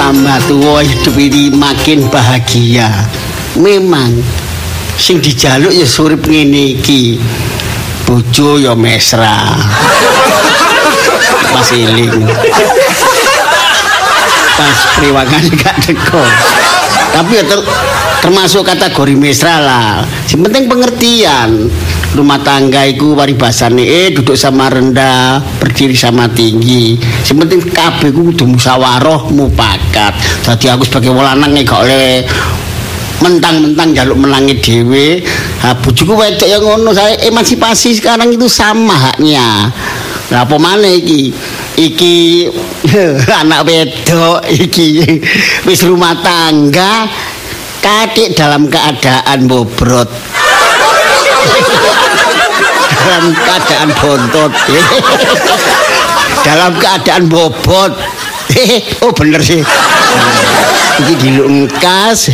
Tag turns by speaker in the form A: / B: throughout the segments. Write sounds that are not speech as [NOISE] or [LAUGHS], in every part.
A: tambah tua hidup ini makin bahagia memang sing dijaluk ya surip ngene iki bojo ya mesra Mas Iling pas priwangan gak teko tapi ya ter- termasuk kategori mesra lah yang penting pengertian rumah tangga iku paribasane eh duduk sama rendah berdiri sama tinggi yang penting kabeh ku kudu musyawarah mupakat tadi aku sebagai walanang nih gak oleh mentang-mentang jaluk menangi dewe ha bojoku wedok ya ngono saya emansipasi sekarang itu sama haknya lah apa maneh iki iki [LAUGHS] anak wedok iki wis rumah tangga katik dalam keadaan bobrot dalam keadaan bontot dalam keadaan bobot oh bener sih iki diluk engkas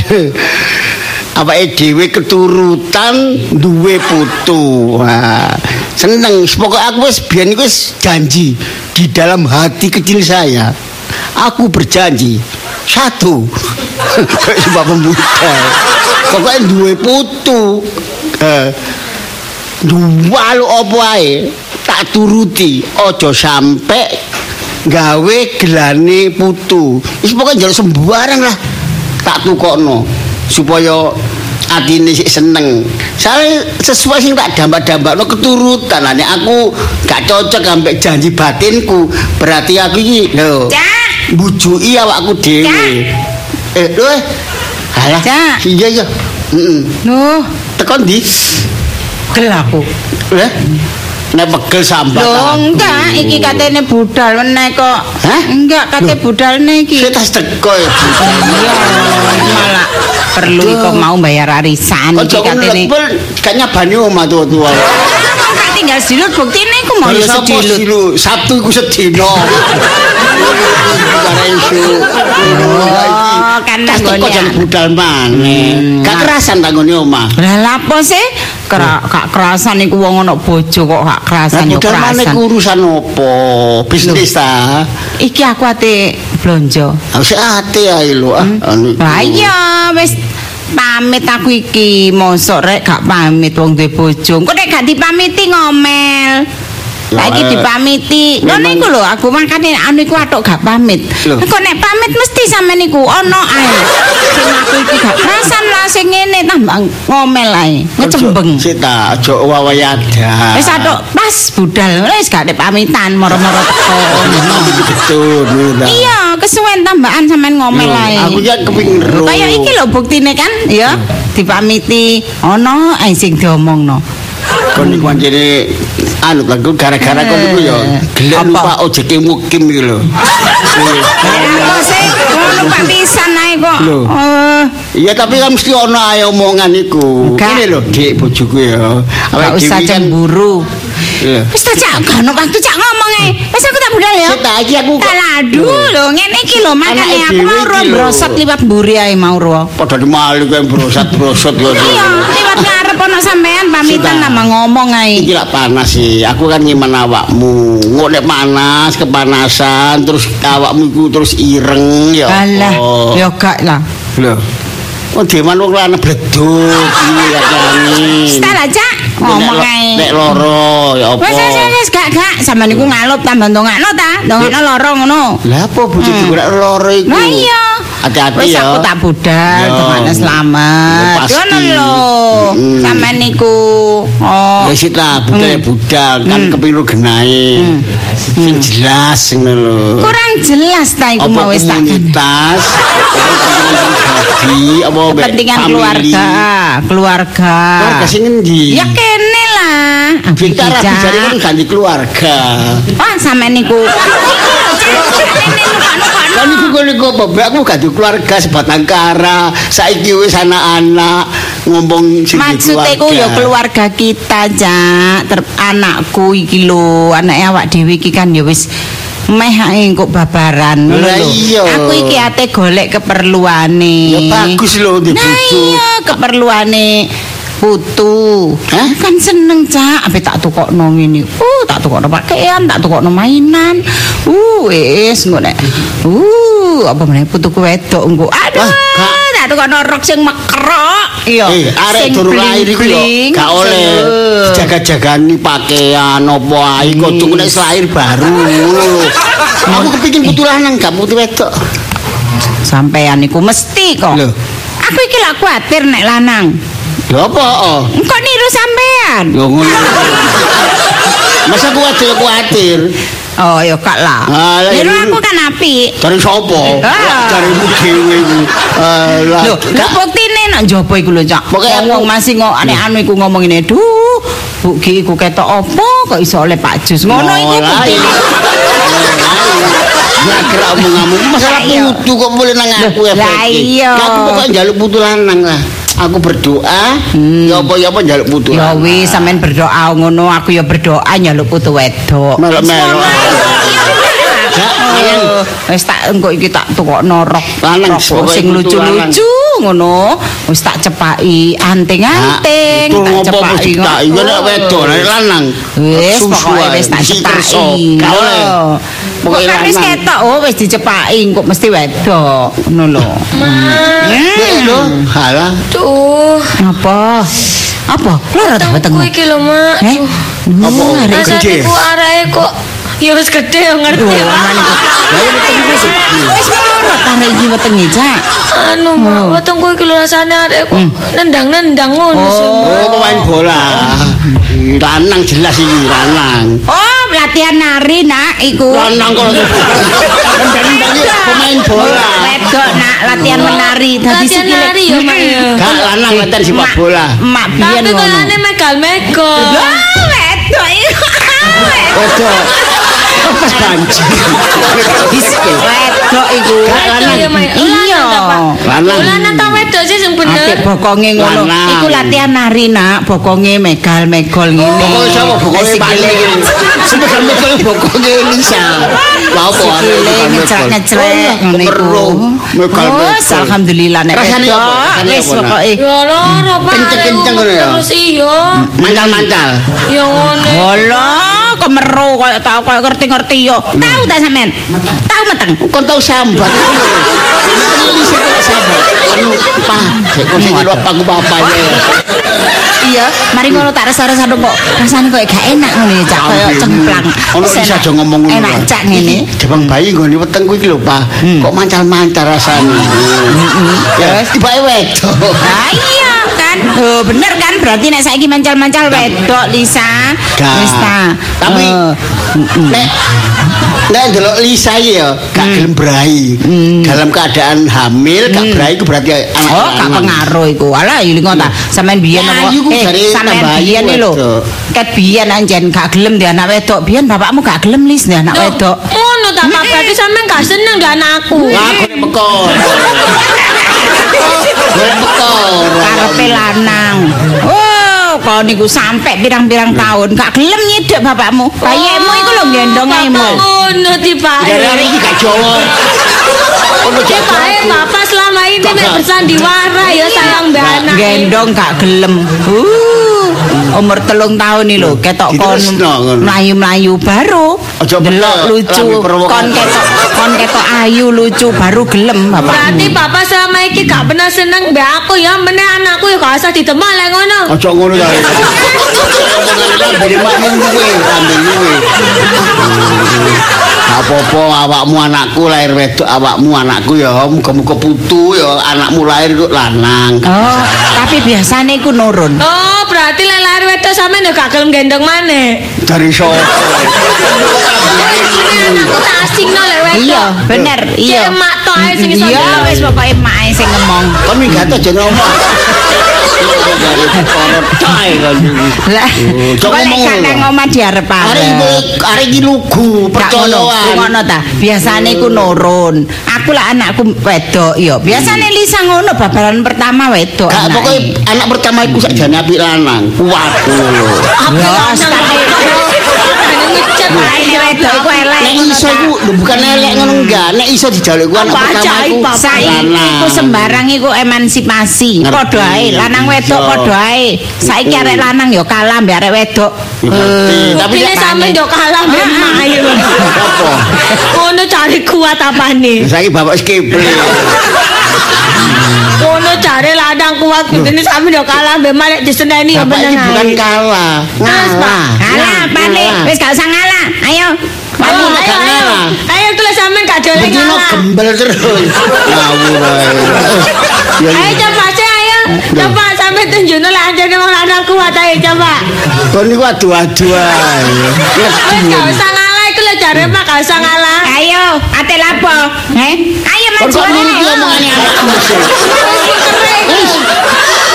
A: awake dhewe keturutan duwe putu Wah, seneng pokok aku wis biyen iku wis janji di dalam hati kecil saya aku berjanji satu [LAUGHS] sebab pembuka pokoknya duwe putu Eh, Walu apa ae tak turuti aja sampe gawe gelane putu. Wis pokoke njaluk sembarang lah tak tukokno supaya atine sik seneng. Soale sesuai sing tak dampak-dampakno keturutan. Lah nek aku gak cocok ambek janji batinku, berarti aku iki lho.
B: Cah.
A: Mbujuki awakku dhewe. Eh, lho. eh. Alah.
B: Cah.
A: Iya iya. Heeh.
B: Nuh,
A: Tekan ndi?
B: gel aku.
A: Lah, Iya? nek pegel sambat.
B: Loh,
A: tanganku.
B: enggak, iki katene budal meneh kok.
A: Hah?
B: Enggak, kate budalne iki.
A: Saya tas teko
B: [LAUGHS]
A: ya. Bu.
B: Iya, malah perlu kok mau bayar arisan
A: Ojo
B: iki katene.
A: lepel, kayaknya banyu omah tua-tua.
B: Kok tinggal silut buktine iku mau
A: Kalau
B: Iya, ya
A: sapa
B: silut.
A: silu, Sabtu iku sedina. Karena isu.
B: Oh, kan
A: Tas teko
B: nanggone.
A: jan budal maneh.
B: Hmm.
A: Gak kerasan tanggone omah.
B: Lah lapo sih? Kera, kak kerasan iku wong ana bojo kok gak
A: Lah
B: kerasan yo
A: budal maneh
B: kerasan.
A: ku urusan opo? Bisnis ta.
B: Iki aku ate blonjo.
A: Harus ati ae lho. ah. Anu iku.
B: Hmm. Lah iya wis pamit aku iki mosok rek gak pamit wong duwe bojo. Engko nek gak dipamiti ngomel. Lah
A: Lah,
B: iki
A: eh,
B: dipamiti. Ngono
A: memang-
B: iku lho aku makane anu iku atok gak pamit.
A: Loh.
B: Engko nek pamit mesti sampean iku ono ae. Sing aku iki gak kerasan lah sing ngene tambah ngomel ae. Ngecembeng.
A: Sik ta, aja wawayadah.
B: Wis atok pas budal wis gak ada pamitan moro-moro teko.
A: [LAUGHS] Betul, betul.
B: Iya, kesuwen tambahan sampean ngomel ae.
A: Aku ya kepingin ro.
B: Kaya iki lho buktine kan ya
A: Hmm.
B: dipamiti ono ae sing diomongno.
A: Kon iku anjene anu kan ku gara-gara kon iku ya
B: Eh.
A: gelek
B: Apa?
A: lupa ojeke mukim iki
B: [LAUGHS]
A: lho.
B: Apa sih ngono Pak pisan ae kok.
A: Lho.
B: Eh,
A: Iya tapi kan mesti ono ae omongan iku.
B: Enggak.
A: Ngene lho, Dik bojoku ya.
B: Gak
A: Awake
B: usah
A: dhewe kan-
B: cemburu.
A: Iya.
B: Wis ta cak gak ono waktu cak ngomong ae. Wis aku tak budal ya.
A: Sik ta iki aku kok
B: Taladu lho ngene iki lho makane
A: Anake dhewe
B: aku mau ro
A: iki lho.
B: brosot liwat mburi ae mau ro.
A: padha dimali kowe brosot-brosot kok.
B: Iya, liwat ngarep ono sampean pamitan
A: Sik Iya, ta.
B: nama ngomong ae.
A: Iki lak panas sih. Aku kan nyiman awakmu. Engko nek panas kepanasan terus awakmu iku terus ireng ya.
B: Alah,
A: apa?
B: ya gak lah.
A: Lho. Oh, deman wong lanang
B: [LAUGHS]
A: bleduk iki ya angin.
B: Stala cak ngomong ae.
A: Nek loro ya apa?
B: Wes wes wes, wes gak gak sampean niku ngalup tambah ndongakno ta, ndongakno loro ngono.
A: Lah apa bojo digorek loro iku?
B: Hmm. Lah iya.
A: Hati-hati
B: Wes
A: ya.
B: aku tak budal,
A: Yo.
B: ndongakno selamat.
A: Yo, pasti.
B: Ngono lho.
A: Mm-mm.
B: Sampean niku oh
A: Ya sik lah
B: Hmm.
A: budal ya budal kan kepilu genahe. Sing jelas ngono lho.
B: kurang jelas ta Hmm. iku
A: Apa
B: mau wis tak
A: komunitas? Jadi apa be-
B: kepentingan
A: family?
B: keluarga, keluarga.
A: Keluarga sing endi?
B: Ya kene lah. Aku
A: Kita
B: iki,
A: ra
B: Cak.
A: dijari kan ganti keluarga.
B: Wah, sampean
A: [LAUGHS]
B: niku.
A: Kan iku kono iku apa? Mbak, aku gak duwe keluarga sebatang kara. Saiki wis anak-anak ngomong sing duwe
B: Maksudnya ku ya keluarga kita, Cak. Ter anakku iki lho, anake awak dhewe iki kan ya wis meh ae kok babaran ngono
A: Lah
B: lho.
A: iya.
B: Aku iki ate golek keperluane.
A: Ya bagus lho di
B: Nah
A: bojo.
B: iya, keperluane putu.
A: Hah?
B: Kan seneng, Cak. Ape tak tukokno ngene. Uh, tak tukokno pakaian, tak tukokno mainan. Uh, wis engko nek. Uh, putu apa meneh putuku wedok engko. Aduh,
A: Ah, gak.
B: tak tukokno rok sing mekrok. Iya.
A: Eh, arek durung lahir iku yo gak oleh jaga-jagani pakaian apa ae kok tuku nek lahir baru ngono lho. Aku kepengin putu lanang gak putu wedok.
B: Sampean iku mesti kok.
A: Lho.
B: Aku iki lak kuatir nek lanang.
A: Lho apa? oh?
B: Engko niru sampean.
A: Lho ngono. Masa kuwatir kuwatir.
B: Oh, ya kak lah.
A: Ah, lah,
B: Niru
A: iya.
B: aku kan apik.
A: Dari sapa?
B: Ah.
A: Darimu dhewe iku. Alah.
B: Lho, lho buktine nek njaba iku lho, Cak.
A: Ah, Pokoke aku-
B: wong masih ngok ane anu iku ngomong ngene, "Duh, Bu Ki iku ketok apa kok iso oleh Pak Jus?" Ngono iku
A: Mulai.
B: buktine.
A: Ya gerak omong-omong masalah
B: Lah, iya.
A: putu kok boleh nang aku ya.
B: Lah,
A: Pak. Ya,
B: iya.
A: Aku pokoknya njaluk putu lanang lah. Aku berdoa, ya apa ya apa njaluk putu.
B: Hmm. Ya
A: lanang.
B: wis sampean berdoa ngono, aku ya berdoa nyaluk putu wedok.
A: Melok-melok.
B: Ya,
A: Yen.
B: Wis tak engko iki tak tukokno rok
A: Lanang,
B: rok
A: pokoknya
B: sing
A: putu
B: lucu-lucu ngono. Wis tak cepaki anting-anting,
A: Itu
B: tak
A: ngopo
B: cepaki.
A: mesti tak iya nek wedok nek lanang.
B: Wis
A: Susu
B: pokoke
A: ae,
B: wis tak
A: isi kerso.
B: cepaki.
A: Gak oleh.
B: Yo. Kok
A: Pokoke
B: kan wis
A: lanang.
B: ketok oh wis dicepaki kok mesti wedok ngono lho.
A: Nek
B: Eh, Hmm.
A: lho, halah.
C: Duh,
B: Apa? Apa? Loro ta
C: tengku
B: wetengmu?
C: iki lho, Mak.
B: Eh?
A: Apa?
B: Apa?
A: Arek gede.
C: Rasane ku areke kok ya wis gede ya ngerti.
B: Duh,
C: Mak.
B: aman iku. Wis marot arek iki wetenge, Cak.
C: Anu, Mak, wetengku iki lho rasane areke
B: Hmm.
C: kok nendang-nendang ngono sih, Mak.
A: Oh, pemain bola. Lanang jelas iki lanang.
B: Oh, latihan nari nak iku.
A: Lanang kok
B: [LAUGHS]
A: Tendang-tendang iki pemain bola.
B: Wedok nak latihan menari dadi
C: Latihan
B: sikile.
C: nari ya, Mak, ya.
A: Gak lanang latihan sepak bola.
B: Mak biyen
C: Tapi Ah,
B: ngono.
C: kayane megal-megal.
B: Lah, wedok
C: iya.
B: iku.
A: Wedok. Pas banci. Diske.
B: Wedok iku.
A: ya? Gak
C: Wedok ya,
A: lanang.
C: Mak.
B: Iya.
A: Lanang.
C: Lanang ta wedok sih sing
B: Apik
C: bener.
B: bokonge ngono.
A: Lanang.
B: Iku latihan nari nak, bokonge megal-megol ngene.
A: Pokoknya siapa? Pokoknya
B: Sikile-
A: Pak Lili. Sepekan pokoknya pokoknya Lisa. Lah apa? aneh,
B: Sikile
A: bukan mebel. Oh,
B: ngecrek-ngecrek ngono iku.
A: Keruh, mebel,
B: Wes
A: mebel.
B: alhamdulillah nek
A: Rasane
B: wedok,
A: apa? Rasane
B: Wis
A: apa, Nak?
B: pokoke
C: Ya lara, Pak.
B: Hmm.
A: Kenceng-kenceng
C: areke
A: ngono ya.
C: Terus iya.
A: Mancal-mancal.
C: Ya ngono.
B: Halo, kemeru kaya tau kaya ngerti-ngerti yo.
A: Hmm.
B: Tahu tak sampean? Tahu meteng.
A: Kau tahu sambat? Ini sih kok sambat. Anu, pak, kau sih lupa aku bapaknya.
B: Iya, mari ngono tak rasa-rasa kok. Rasane kok gak enak ngono ya, Cak. Kaya cemplang.
A: Ono
B: Wis
A: bisa
B: enak.
A: aja ngomong ngono.
B: Enak Cak ngene. Hmm.
A: Jebang bayi gue nih weteng gue lho pak. Kok mancal-mancal rasanya. Ya, tiba
B: [LAUGHS]
A: wedok.
B: Lah Ah, iya kan. Oh, bener kan berarti nek saiki mancal-mancal wedok Lisa.
A: Gak.
B: Wis ta.
A: Tapi
B: Eh,
A: nek nek delok Lisa iki ya gak
B: Hmm.
A: gelem brai. Dalam keadaan hamil gak brai ku berarti ya anak
B: Oh, gak
A: lanang.
B: pengaruh iku. Alah, ya lingo ta. Sampeyan biyen Eh,
A: Nah, iku jare
B: sampeyan
A: tambah ayu
B: biyen iki lho.
A: wedok.
B: Ket biyen anjen gak gelem dia anak wedok. Biyen bapakmu gak gelem lis dia anak
C: Duh,
B: wedok.
C: Ngono ta, Pak. Berarti sampean gak seneng gak anak aku.
A: Lah aku nek
B: [LAUGHS]
A: pekor. Gue pekor.
B: Karepe lanang. Oh, kau niku sampe pirang-pirang
A: Hmm.
B: tahun gak gelem nyedek bapakmu. Bayekmu iku
A: Oh,
B: lho gendong
C: Bapak
B: ayemu.
C: Ngono tibae.
A: Dari hari iki gak Jawa. Ono Jawa.
C: Tibae bapak selama ini mek bersandiwara ya sayang mbak anak.
B: Gendong gak gelem. Uh, umur telung tahun iki lho ketok kon
A: Diterusno ngono.
B: mlayu-mlayu baru.
A: Aja menel,
B: Delok lucu.
A: rame perwokan.
B: Kon ketok kon ketok ayu lucu baru gelem bapakmu.
C: Berarti bapak selama ini gak pernah seneng mbak aku ya meneh anakku ya gak usah ditemak lah ngono.
A: Aja ngono ta. Bene makmun kuwe, kambing kuwe. Gak Apa-apa awakmu anakku lahir wedok, awakmu anakku ya muga-muga putu ya anakmu lahir kok lanang.
B: Oh, tapi biasanya iku nurun.
C: Oh, berarti lek lahir wedok sampean ya gak gelem gendong maneh.
A: Dari sapa?
C: Ini anakku tak asingno lek
B: Iya,
C: wedok.
B: bener. Iya.
C: Cek emak tok ae sing iso.
B: Iya
C: ndelok.
B: wis pokoke emak ae sing ngomong.
A: Kon minggat aja ngomong. Dari perkara tai kon iki.
B: Lah,
A: Oh, cok
B: kok lek
A: ngomong
B: gak
A: ngono.
B: nang omah diarep-arep.
A: Arek iki arek iki lugu,
B: Gak
A: percaya.
B: ngono, ngono ta. Biasane iku nurun. Aku lah anakku wedok ya. Biasane Lisa ngono babaran pertama wedok.
A: Gak
B: anake.
A: pokoknya anak pertama iku sakjane apik lanang. Waduh.
C: Apa
B: Ya,
C: lanang
B: tapi-
C: kok? Jenenge ngecek
B: Lah, ini wedok iku elek.
A: Nek iso iku lho, bukan elek ngono enggak, nek iso dijaluk iku anak
C: Apa
A: pertama
C: ajaib,
A: iku
C: Papa?
B: Saiki iku sembarang iku emansipasi.
A: Ngerti.
B: Padha ae lanang wedok
A: Iya.
B: padha ae. Saiki
A: Mm-mm.
B: arek lanang ya kalah mbek arek wedok.
A: Ngerti.
B: Eh,
A: Tapi
C: Tapi
A: nek
C: sampean yo kalah mbek emak ae.
A: apa?
C: Kono cari kuat apa nih?
A: Saiki bapak skipel.
C: Kono cari ladang kuat begini sampe yo kalah mbek Malik diseneni ya
A: Bapak
C: bener
A: iki bukan
C: ae.
A: kalah, Nah,
C: Terus, Pak?
A: ngalah.
B: Kalah, balik.
A: Ngalah.
B: Wis gak usah ngalah. Ayo.
C: Ayo,
A: Ah, Kamu
C: ayo,
A: gak
C: ayo.
A: ngalah.
C: Ayo tulis sampean gak dolek
A: Begini
C: ngalah.
A: gembel terus. Ngawur ae. Ya,
C: Ayo coba sih ayo. Coba sampe tunjukno lanjane wong lanang kuat ayo coba.
A: Kon niku adu-adu ae.
C: Wis gak usah ngalah iku lho jare Pak gak usah ngalah.
B: Ayo, ate lapo? Eh? Ayo
A: Kon
B: maju.
A: kok ngene iki
B: ayo.
A: omongane anakmu. sih?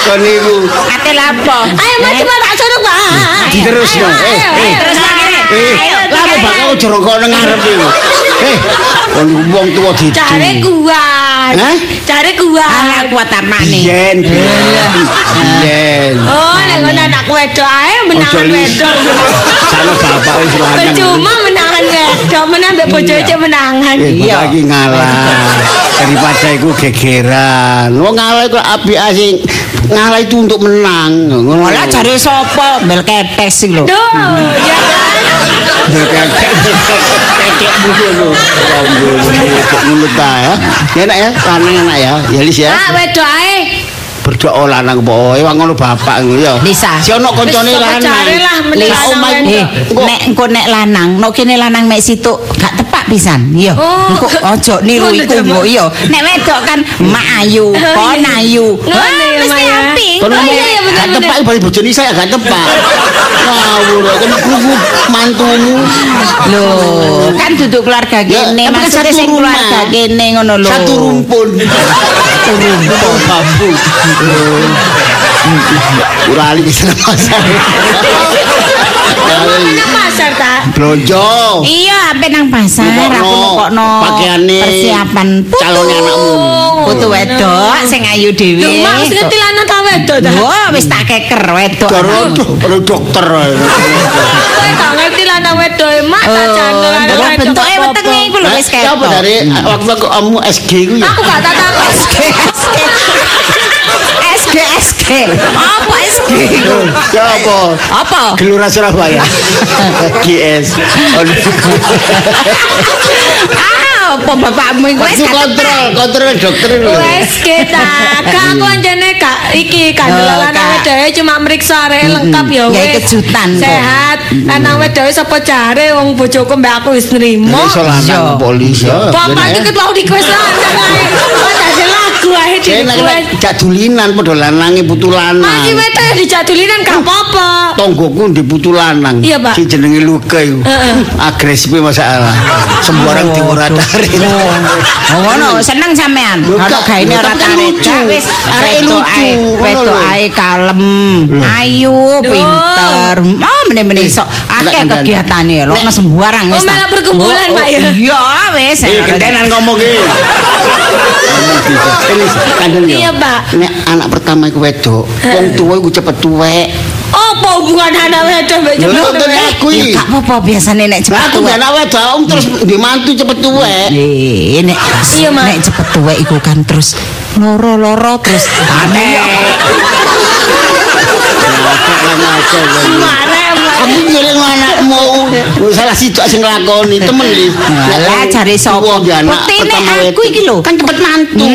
A: Kon niku
B: Ate lapo? Eh?
C: Ayo maju Pak tak suruh Pak.
A: diterusno. Eh, eh.
B: Terus lagi.
A: Eh,
B: Ayo.
A: lha kok bakal jorong kono ngarep iku. Eh, kon niku wong tuwa didu.
C: Cari kuat.
A: Hah?
C: Cari kuat.
B: Alah kuat amane.
A: Biyen,
B: iya.
A: biyen. Biyen.
C: Oh, nek ngono anak wedok ae menahan
A: Ojo lis.
C: wedok.
A: Salah bapak
C: [LAUGHS]
A: wis lanang.
C: Percuma menahan wedok, menang mbek bojo
A: Iya.
C: cek menahan.
A: Eh,
B: Iya.
A: Bapak iki ngalah. Daripada iku gegeran. Wong ngalah iku api asing. Ngalah itu untuk menang. Ngono.
B: Ola jare sapa? Bel ketes iki lho.
C: Duh, ya kan?
A: Tetek buku lu. Ya Mulut ta ya. Ya enak ya, lanang enak ya. Ya Lis ya.
C: Pak wedok ae.
A: Berdoa lanang pokoke wong ngono bapak ngono ya.
B: Lisa.
A: Si ono koncone
C: Wis, kok cari lah,
A: lanang.
C: mending
A: Oh my
C: lanang
B: ah. Eh,
A: god. Engko-
B: nek engko nek lanang, nek kene lanang mek situk gak tepak pisan. Iya.
C: Oh.
B: Engko [LAUGHS] ojo niru
C: Ngono,
B: iku
C: Jem.
B: mbok iya. Nek wedok kan mak [LAUGHS] ayu, kon ayu. Ah,
C: Ngono ya,
B: mesti
C: Maya.
B: api.
A: Kon
C: Oh,
A: ngomong
C: iya, iya, bener,
A: gak
C: bener.
A: tepak bari bojone saya gak tepak. Ngawur kon kuku mantumu.
B: Lho, kan duduk keluarga
A: Ya,
B: kene,
A: tapi kan
B: maksudnya
A: satu
B: sing
A: rumah.
B: keluarga kene ngono lho.
A: Satu rumpun. Satu rumpun babu. Ora ali bisa pasar.
C: Nang pasar ta?
A: Blonjo.
B: Iya, ape nang pasar
A: Nukokno,
B: aku nukokno
A: pakaiane
B: persiapan putu.
A: calon anakmu.
B: Putu wedok sing ayu
C: Duh,
B: dhewe.
C: maksudnya tilana ta wedok ta?
B: Wah, wis tak keker wedok.
A: Dorong perlu dokter.
C: Kowe gak ngerti lanang wedok e, mak ta
B: Oh,
C: jane lanang
B: ndelok
C: wedok.
B: bentuke
C: apa-apa.
B: wetenge iku lho wis
A: Eh, Siapa
B: ketok. [LAUGHS]
A: dari waktu aku kamu SG ku ya?
C: Aku gak tak takon.
B: [LAUGHS] SG SG SG apa SG
C: Ah.
A: Loh, Siapa?
C: Oh.
B: apa
A: Gelora
C: [LAUGHS]
A: Surabaya. GS.
B: ah apa bapakmu iku
A: Itu
B: wis
A: kontrol, kontrol dokter lho.
C: Wes kita kak aku anjane kak iki kan
B: Oh,
C: lanang
B: Kak.
C: wedoke cuma meriksa re lengkap ya
B: Ya,
C: wes.
B: kejutan kok.
C: Sehat. Lanang wedoke sapa jare wong bojoku mbak aku wis nrimo.
A: Iso lanang
B: Iya.
A: polisi.
C: Bapak iki ketlau request lanang
B: [LAUGHS]
C: ae. Kok dadi lagu ae di
B: Iya,
C: request.
A: Cak dulinan padha lanange putu lanang.
B: Nah.
C: Mati wedoke dijatulinan gak apa-apa.
A: Tonggoku di putu lanang.
C: Iya, Pak.
A: Si jenenge Luka iku.
C: Heeh.
A: Agresif masalah. Sembarang diuratari.
C: Iya,
A: [LAUGHS]
B: Oh, ngono seneng sampean.
A: Lho,
B: Kalau
A: Kak,
B: gaene
A: lho,
B: ora
A: tapi kan
B: tani
A: lucu.
B: Dah, wis
A: Arek
B: wedok
A: lucu,
B: ae,
A: ngono
B: wedok
A: lho.
B: ae kalem, ayu, pinter. Oh, meneh-meneh iso akeh
A: kandhani.
B: kegiatane ya, lho
A: Nek-
B: sembuarang
C: Oh,
B: wis. tak.
C: malah perkumpulan,
B: Oh,
C: Pak, ya.
B: oh, Iya, wis.
A: Eh, kentenan ngomong iki. Tenis, kandel yo.
C: Iya, Pak.
A: Nek anak pertama iku wedok, wong tuwa iku cepet tuwek.
C: Apa hubungan anak wedok mbek
A: Lho,
C: jebul?
A: nonton aku
B: Ya
A: iki.
B: gak apa-apa biasane
A: Lah
B: nek cepet
A: aku
B: tuwek.
A: gak anak wedok, om terus di mantu cepet tuwek.
B: Eh, nek
C: Iya, Mak.
B: nek cepet tuwek iku kan terus loro-loro terus aneh.
A: Ngakak Iya, lah, ngakak lah.
C: Marah, Mak.
A: Kamu nyeleng [LAUGHS] anakmu. Wah, Oh, Salah situ sing nglakoni temen li.
B: Lah cari
A: Tuwa
B: sapa?
A: di anak
B: Putine
A: pertama
B: aku
A: wedok.
B: iki lho. Hmm.
A: Kan cepet mantu.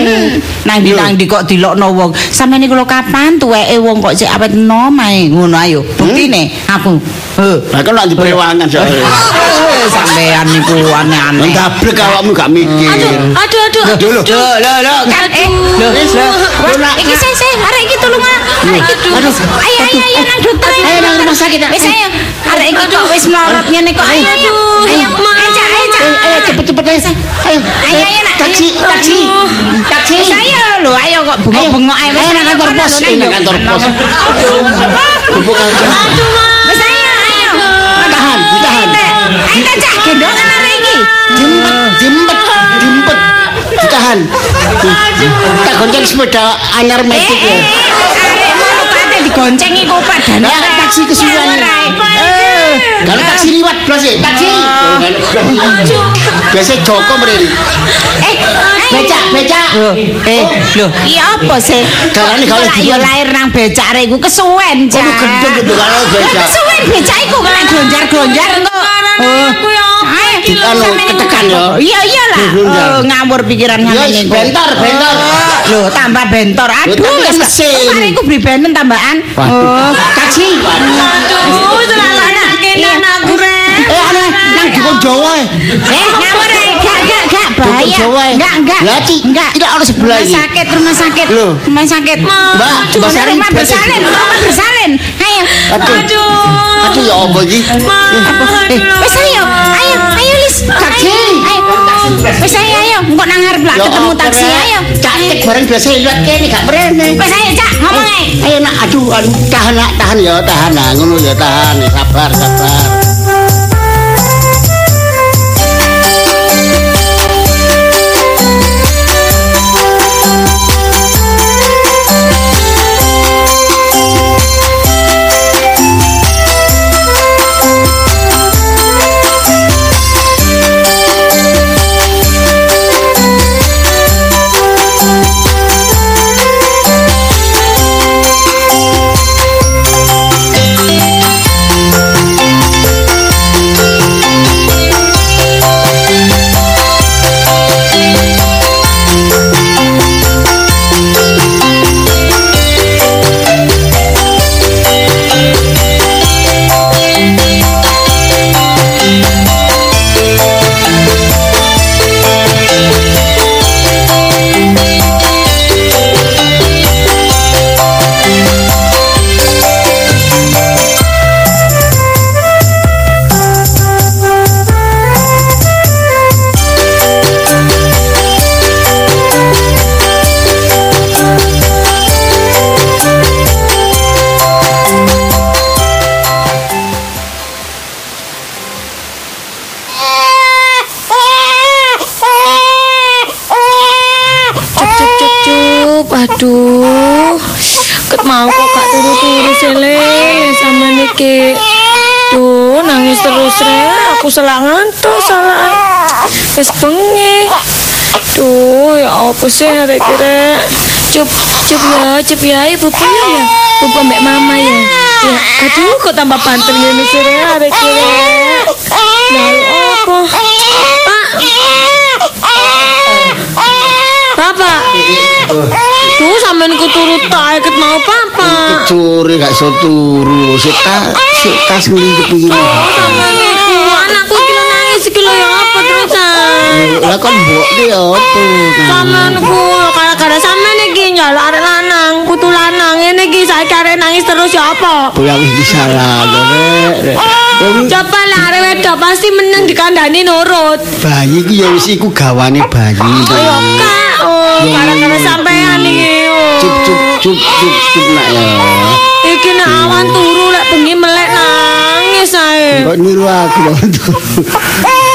B: Nang di
A: Iya.
B: nang di kok dilokno wong. Sampeyan iku lho kapan tuweke wong kok sik awet enom ae ngono ayo. Buktine aku. Heh.
A: Lah kan lak di perewangan soalnya.
B: Eh, Sampeyan niku aneh-aneh.
A: Ndabrek awakmu gak
C: Aduh,
A: mikir.
C: aduh, aduh.
A: Duh, lho.
B: Lho lho lho kan eh lho lho. Wah, iki saya saya arek iki tulung ah. Arek iki tulung.
A: Aduh.
B: Ayo ayo ayo nang dokter.
A: Ayo nang rumah sakit, ah.
B: Wis ayo. Arek iki kok wis melorot ngene kok. Ayo ayo. Ayo Cak, ayo Cak.
A: Ayo cepet-cepet ayo. Ayo.
B: Ayo ayo nak.
A: Taksi, taksi.
B: Taksi. Ayo lho ayo kok bengok-bengok ae wis
A: Ayo nang kantor pos,
B: Nang
A: eh, nang kantor pos. Kumpul kantor.
C: Aduh, Mak.
B: Wis ayo ayo.
A: Ditahan, ditahan.
B: Ayo ta Cak gendongan arek iki.
A: Jempet, jempet, jempet. Ditahan. Tak gonceng sepeda anyar
B: Eh
A: metik ya.
B: eh. Arek mau kate digoncengi kok padane.
A: Lah, taksi Nah, kesuwen.
B: Eh.
A: Kalau taksi liwat blas ya. Taksi.
B: Aduh.
A: Biasa Joko mrene.
B: Eh, becak, becak. Loh, eh, loh. Iya apa sih?
A: Dalane gak oleh
B: Kok yo
A: digon.
B: lahir nang becak rek iku kesuwen, Cak.
A: gendeng gendengane becak.
B: Lah, Kesuwen becak iku kena glonjar-glonjar kok. Oh.
C: Ngarane aku ya apa
B: Ayo,
C: iki lho,
A: Anu,
B: sampeyan iku
A: ketekan yo.
B: Iya iyalah.
A: Glonjar.
B: Oh, ngawur pikiran
A: Ya
B: ngene
A: wis,
B: iku.
A: bentor, bentor.
B: Oh, Loh, tambah bentor. Aduh,
A: tapi kan
B: wis
A: mesin.
B: Kemarin iku beri benten tambahan.
A: Waduh.
B: Oh, kaji.
C: Aduh, selalu nak kene anakku rek.
A: Eh ana nang dukun Jawa. eh.
B: Eh, ngawur eh, gak gak gak
A: Dukun
B: bahaya.
A: Jawa. eh.
B: Enggak, enggak.
A: Lah Ci,
B: enggak. iya.
A: Tidak ono sebelah
B: Rumah
A: iki.
B: sakit, rumah sakit.
A: Loh.
B: Rumah sakit.
A: Mbak,
B: Aduh,
A: Mbak Sari,
B: rumah
A: berarti-
B: bersalin, rumah bersalin. Ayo.
A: Aduh.
C: Aduh.
A: Aduh ya apa iki?
B: Eh, wis ayo. Ayo, ayo Lis.
A: Taksi.
B: Ayo. Wis ayo, ayo. Engko nang ngarep lah
A: Ya
B: ketemu
A: apa,
B: taksi,
A: Rek?
B: ayo.
A: Cantik bareng biasa liwat kene gak mrene.
B: Wis ayo, Cak, ngomong eh. ae.
A: Ayo nak aduh aduh tahan nak tahan ya tahan nah ngono ya tahan ya, sabar sabar.
C: Cup cup cup cup. Aduh. Ket mau kok gak turu-turu sele sama niki. Tuh nangis terus rek, aku salah ngantuk salah. Wis bengi. Tuh ya apa sih arek iki, rek Cup cup ya, cup ya ibu punya ya. Ibu mbak mama ya. Ya, aduh kok tambah banter ngene sih rek arek iki, rek. Lah Ya, apa? Pak, Bapak. Tuh sampean ku turu tak ket mau papa.
A: Kecuri gak iso turu, sik ta sik tas ngelingkup iki.
C: Sampean iku anakku iki lho nangis iki lho ya apa terusan?
A: Lah kon mbokne ya opo.
C: Sampean ku gara-gara sampean iki njaluk arek lanang, kutu lanang ngene iki saiki arek nangis terus ya apa?
A: Bola wis disalah ya, lho, Rek. Rek. Wong
C: Coba lah arek wedok pasti meneng dikandani nurut.
A: bayi iki ya wis iku gawane bayi.
C: Oh ya kak, oh gara-gara sampean iki. oh.
A: Cup cup cup cup cup nak ya.
C: Iki nek awan turu lek bengi melek nangis ae.
A: Kok niru aku ya, lho.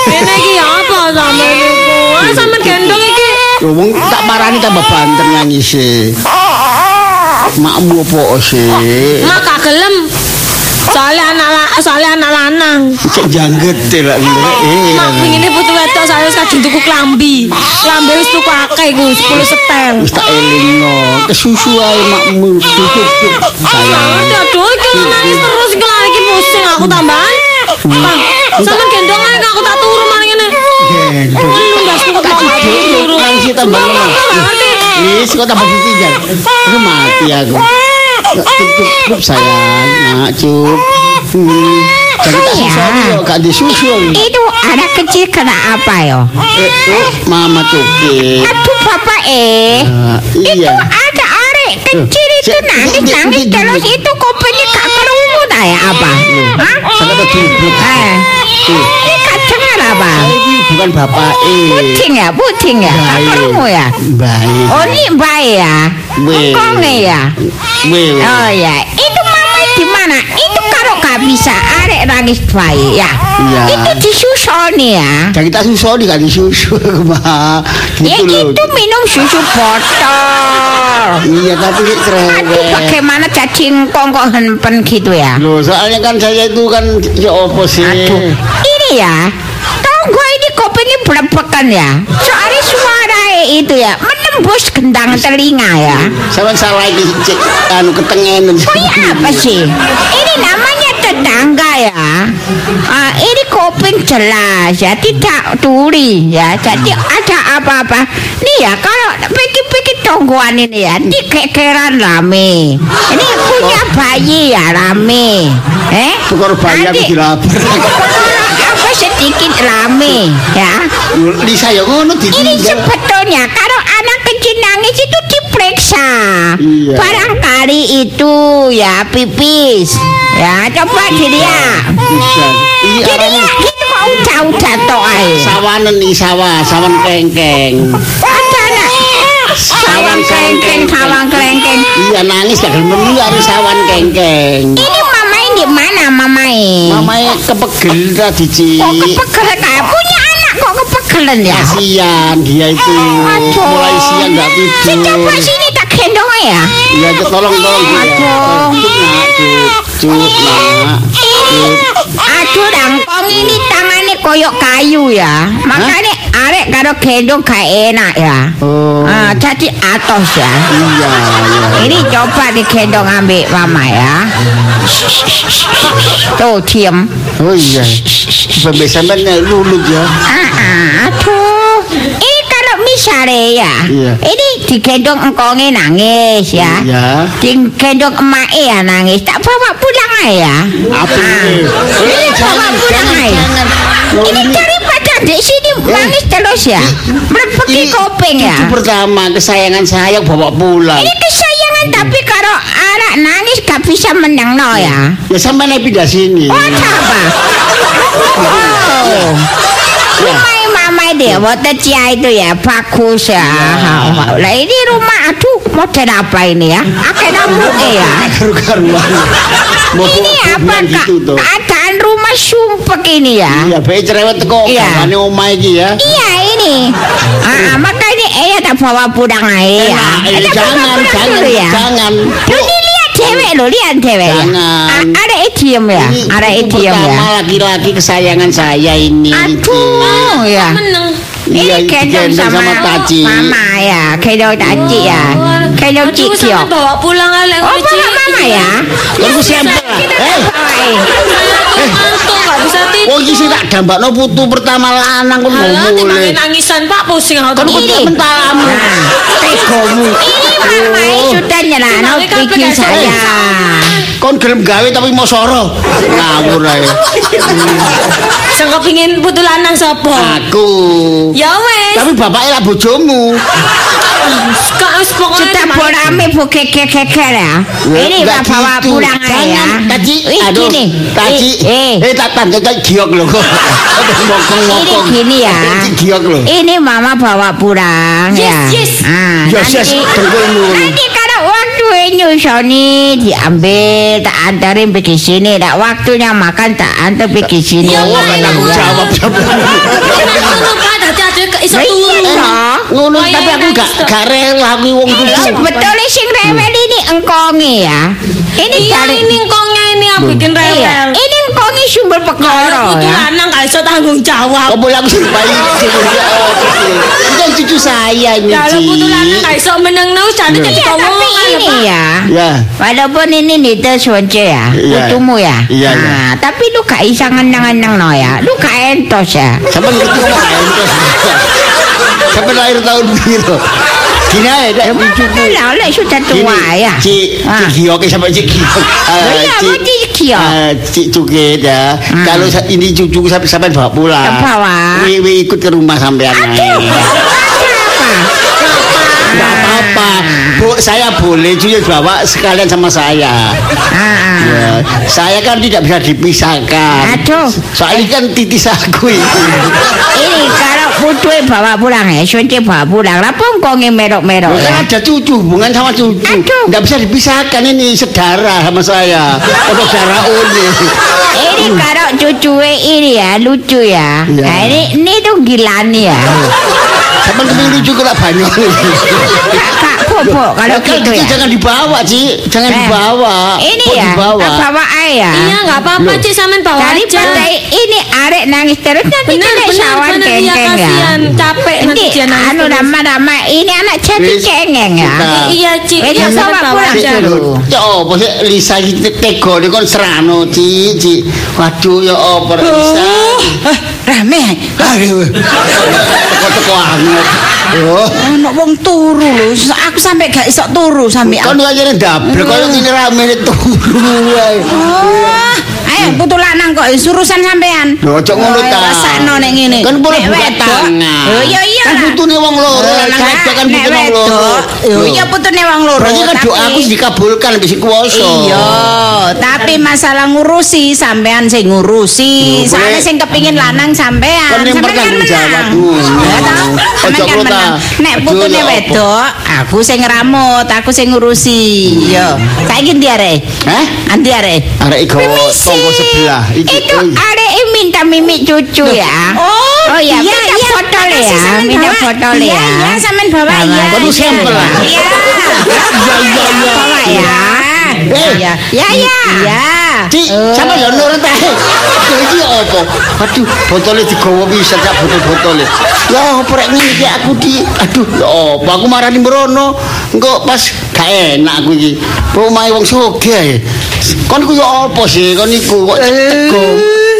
C: Ini iki apa sampean iku? Ah sampean gendong iki.
A: Ya Wong
C: Ah.
A: tak parani tambah banter nangis e. Makmu opo sih?
C: Mak gak gelem. Soalnya anak la, soalnya anak lanang.
A: Cek jangget e lak ngene. Eh,
C: Mak pingine putu wedok soalnya wis kadung tuku klambi. Klambi wis tuku akeh iku 10 setel.
A: wis tak elingno. Kesusu ae makmu. Cup, cup, cup. Sayang.
C: Banget aduh iki lho nangis terus iki lho iki pusing aku tambahan. Bang, sampean gendong ae Kak, aku tak turu mari ngene.
A: Gendong.
C: Lu ndas kok tak turu.
A: Nangis tambah
C: Sumpah,
A: lemah.
C: aku gak ngerti.
A: Wis kok tambah ditinggal. Aku mati aku. Cup cup cup sayang. Nak cup. Hmm. Jadi tak susah yo, gak disusul.
B: Itu anak kecil kena apa ya?
A: Eh, eh, mama cukup.
B: Aduh, Bapak eh.
A: Ah, iya.
B: ada arek kecil itu
A: Cek,
B: nangis
A: ini-
B: nangis
A: ini
B: terus
A: dulu.
B: itu kopinya gak kerungu dah ya apa? Hah?
A: Sangat terjebak.
B: Eh,
A: Tuh.
B: ini gak dengar apa?
A: Saya ini bukan bapak eh.
B: Pucing ya, pucing ya, gak
A: Baik.
B: kerungu ya.
A: Iya. Baik.
B: Oh ini baik
A: Iya.
B: ya,
A: Weh.
B: engkonge ya.
A: Weh, weh.
B: Oh ya, itu mama di mana? Itu kalau gak bisa arek nangis baik ya.
A: Iya.
B: Itu disusul nih ya.
A: Jadi tak susah nih kan susu [LAUGHS] mah.
B: Ya
A: Gitu loh.
B: itu minum susu botol.
A: Iya tapi ini
B: Aduh
A: cerewet.
B: bagaimana cacing kong kok hempen gitu ya?
A: Loh, soalnya kan saya itu kan ya opo sih.
B: Aduh, ini ya. Tahu gue ini kopinya belum beneran ya soalnya suara itu ya menembus gendang telinga ya
A: Sampeyan salah iki cek anu ketengen. [LAUGHS]
B: ini apa sih ini namanya tetangga ya Ah, ini kuping jelas ya tidak tuli ya jadi ada apa-apa nih ya kalau pikir-pikir tonggoan ini ya ini kekeran rame ini punya bayi ya rame eh
A: Syukur bayi aku
B: nanti-
A: dilapor.
B: apa sedikit rame ya
A: Lisa ya ngono
B: ini
A: ditinggal.
B: sebetulnya kalau anak kecil nangis itu diperiksa
A: Iya.
B: barangkali itu ya pipis ya coba dilihat ya,
A: Bisa. Ini arane
B: dilihat itu kok udah-udah toh ae
A: sawanen iki sawah, sawan kengkeng.
B: ada anak
A: Sawan
B: sawang kelengkeng
A: kelengkeng.
B: sawang kelengkeng
A: Iya nangis gak gelem melu arek sawan kengkeng.
B: ini mamain di mana mamain
A: Mamae kepegel tadi,
B: kok
A: Cik.
B: kepegelan kayak punya anak kok kepegelan ya
A: Iya. Kasihan Ah, dia itu.
B: Eh, Aduh.
A: Mulai siang gak
B: Si
A: tidur.
B: coba sini tak gendong ae ya
A: Iya, Cik, tolong tolong. Cik. Cuk, nak, Cuk. Cuk, nak.
B: Aduh rangkong ini tangannya koyok kayu ya Makanya arek karo gendong gak enak ya
A: Oh.
B: Ah, Jadi atos ya
A: Iya, iya.
B: Ini coba digendong ambek mama ya Tuh diem
A: Oh iya. Sampai sampean lulut ya.
B: ah, ah, Aduh Ini kalau misalnya ya
A: Iya.
B: Ini digendong engkongnya nangis ya
A: Iya.
B: Digendong emaknya ya nangis Tak bawa pulang aja ya
A: Apa ini? Eh,
B: Ini bawa pulang aja
A: Loh,
B: Ini Eh,
A: ini-
B: daripada di sini nangis terus ya. Merebeki kuping ya.
A: Itu pertama kesayangan saya bawa pulang.
B: Ini kesayangan tapi kalau anak nangis gak bisa menang no ya.
A: Ya sampai naik pindah sini.
B: Oh apa? Oh. Rumah mama dia, water cia itu ya bagus ya. Lah ini rumah aduh model apa ini ya? Akeh nampuke ya.
A: Karu-karuan. Mau
B: Ini
A: bawa
B: apa
A: pulang
B: kak? Ah.
A: gitu toh.
B: Keadaan rumah sumpek ini ya.
A: Iya, baik cerewet kok.
B: Iya.
A: Ini omah iki ya.
B: Iya ini. Ah, makanya eh tak bawa pulang aja ya.
A: Iya. Enak, eh,
B: Eh, tak bawa
A: jangan,
B: pulang
A: jangan,
B: dulu ya.
A: jangan.
B: Lu ini lihat dewek lo, lihat dewek. ya.
A: Jangan.
B: Ah, Ada idiom ya,
A: Ini
B: ada
A: buku
B: idiom ya.
A: pertama laki-laki kesayangan saya ini.
B: Aduh ya.
C: Meneng.
A: Iya,
B: Ini gendong
A: digendong
B: sama,
A: sama Taci.
B: Mama ya, gendong Taci ya. Gendong
C: Aduh,
B: Cikyok.
C: sampai bawa pulang ala
B: Oh, bawa mama ya.
A: Lalu siapa? Eh,
B: Oi.
C: Mantu nggak bisa tidur.
A: oh iki sih tak gambar putu pertama lanang kok
C: Alah,
A: ngomong
C: timbangin
A: boleh.
C: nangisan Pak pusing aku.
A: Kan
C: Ini.
A: kok mentalamu.
B: Nah, tegomu. Ini mama
A: Oh.
B: sudah nyelano
C: Ini kan
B: bikin
C: pedas
B: saya.
A: Kon gelem gawe tapi mau soro. Ngawur ae.
C: Sing kepingin putu lanang sapa?
A: Aku.
C: Ya wes.
A: Tapi bapaknya lah bojomu.
C: Kak wis pokoknya
B: Sudah
C: teman-
B: borame bu keke keke ya. Ini
A: Nggak
B: tak bawa
A: gitu.
B: pulang aja ya.
A: Jangan, Taci.
B: Ih,
A: Aduh,
B: gini.
A: Taci.
B: Eh, eh.
A: Eh, tak tanda tak giok lho [LAUGHS] kok. Aduh,
B: Ini
A: Mokong-mokong.
B: gini ya.
A: Taci giok lho.
B: Ini mama bawa pulang
C: Yes,
B: ya.
C: yes.
B: Ah,
A: Yes, yes,
B: nanti,
A: dengkulmu.
B: nanti kalau waktu nyusoni diambil tak antarin pergi sini. Tak waktunya makan tak antar pergi sini.
C: Ya,
A: Oh,
C: Mak,
A: menang
C: iya.
A: jawab jawab.
C: Ngono Pak, dadi ade ke- iso
B: Lah, iya,
C: turu.
B: toh.
A: ngono
C: Wah,
A: tapi
B: iya,
C: ya,
B: kan
A: aku gak
C: nangis,
A: gak rela aku wong kudu
B: Sebetulnya sing rewel ini engkongi ya. Ini
C: Iya,
B: dari
C: ini engkongnya ini aku bikin
B: Iya,
C: rewel.
B: ini engkongi sumber
C: Kalau
B: perkara
C: putu
B: ya. Oh,
C: lanang gak iso tanggung jawab.
A: kok boleh aku sampai itu kan cucu saya ini
B: Ya,
C: Kalau putu lanang
A: Ci
C: gak iso menengno jadi
B: Iya, tapi
C: lah
B: ini
C: Pak.
B: ya.
A: ya
B: Walaupun ini nita sonce ya,
A: Iya.
B: utumu ya.
A: Iya, iya.
B: Nah, tapi lu gak bisa ngenang-ngenang no ya. Lu gak entos ya.
A: sampai ngerti kok gak entos sampai lahir tahun biru gini aja dak cucuku
B: Maksudnya lah, lek sudah tua ya.
A: Ci Ci
B: Ah.
A: Giok sampai Ci Giok
B: [LAUGHS] Lah, iya, apa Ci Giok?
A: Eh, Ci Cukit ya kalau sa- ini cucuku sampai sampai bawa pulang
B: Ke bawah.
A: Wi- Wi ikut ke rumah sampean Nah,
B: Aduh,
A: naik.
B: apa?
A: Gak apa-apa Bu, saya boleh cuy bawa sekalian sama saya
B: Ah,
A: Ya, saya kan tidak bisa dipisahkan.
B: Aduh.
A: Soalnya kan titis aku itu.
B: ini kalau putue bawa pulang ya, sonce bawa pulang. Lah pungkonge merok-merok
A: Kan
B: ya.
A: ada cucu, hubungan sama cucu.
B: Aduh.
A: Nggak bisa dipisahkan ini sedara sama saya. Atau darah uni.
B: Ini kalau cucuwe ini ya lucu Hmm. ya.
A: Iya.
B: Nah, ini ini tuh gilani ya.
A: Sama kepingin lucu kok banyak.
B: Kak, kak popok kalau
A: Kalau
B: gitu
A: kecil
B: ya.
A: jangan dibawa, Ci. Jangan
B: Eh,
A: dibawa.
B: Ini
A: Kok
B: ya,
A: dibawa.
B: tak bawa air ya.
C: Iya, nggak apa-apa, Cik, sampean bawa
B: Dari
C: aja.
B: pantai ini arek nangis terus nanti
C: Benar,
B: kena
C: benar,
B: sawan
C: benar, iya
B: kengkeng ya.
C: kasihan, capek dia nangis
D: Anu
C: terus.
D: nama-nama ini anak jadi
A: Wis,
D: cengeng ya.
A: kita-
C: Eh, Iya Cik,
D: Wis,
C: iya
D: jangan
C: sama
D: bawa
C: pulang
D: aja.
C: Jan.
D: Aduh.
A: Ya apa sih Lisa iki te- tega nih kon serano Ci, Ci. Waduh ya apa Rek Lisa.
B: Eh, rame.
A: Aduh. Teko-teko anget. Oh.
B: Ono wong turu lho, Sa- aku sampe gak iso turu sampe.
A: Kon kayane ndablek koyo
B: Hmm.
A: ini rame nih turu ae.
B: Wah, Oh, ayo putu lanang kok is urusan sampean.
A: Hmm. Lho ojo ngono
B: Wah,
A: ta.
B: Rasakno nek ngene.
A: Kan boleh
B: Nek
A: buka
B: wedok-
A: tangan.
B: Oh, iya iya.
A: Kan
B: lah.
A: butune wong loro,
B: Oh,
A: lanang
B: lah,
A: wedok kan
B: nek
A: butune wong loro.
B: wedok. Oh, iya putune wong loro.
A: Berarti kan
B: tapi-
A: doaku dikabulkan wis kuwasa.
B: Iya, tapi masalah ngurusi sampean sing ngurusi,
A: Lho,
B: soalnya
A: boleh.
B: sing kepingin lanang sampean.
A: Kan yang bertanggung jawab. Hmm.
B: Ya toh?
A: Ojo
B: Sampean kan
A: kota.
B: menang. Nek
A: Aduh,
B: putune
A: ya apa.
B: wedok, aku sing ngramut, aku sing ngurusi. Yo. Saiki ndi arek?
A: Hah?
B: Andi arek?
A: Arek iku
D: Permisi.
A: tonggo Oh, sebelah iki.
D: Itu
A: oi.
D: ada yang minta mimik cucu ya.
B: Oh,
D: iya,
B: iya,
D: minta
B: iya.
D: botol
B: Makasih,
D: ya,
B: sampean
D: minta
B: bawa.
D: botol
B: Iya,
D: ya.
B: iya, sampean bawa,
D: Bawa.
B: iya,
A: Baru
B: iya.
A: sampel lah.
B: Iya.
A: Iya, iya, iya.
B: Bawa ya.
A: Eh.
B: Iya, iya, iya. Iya.
A: Cik, sama ya nurut ae. Lho iki apa? Aduh, botole digawa bisa cak botol-botole. Ya apa rek ngene iki aku di aduh ya apa aku marani merono. Engko pas gak enak aku iki. Omahe wong sugih ae. Kon ku ya apa sih kon iku kok teko.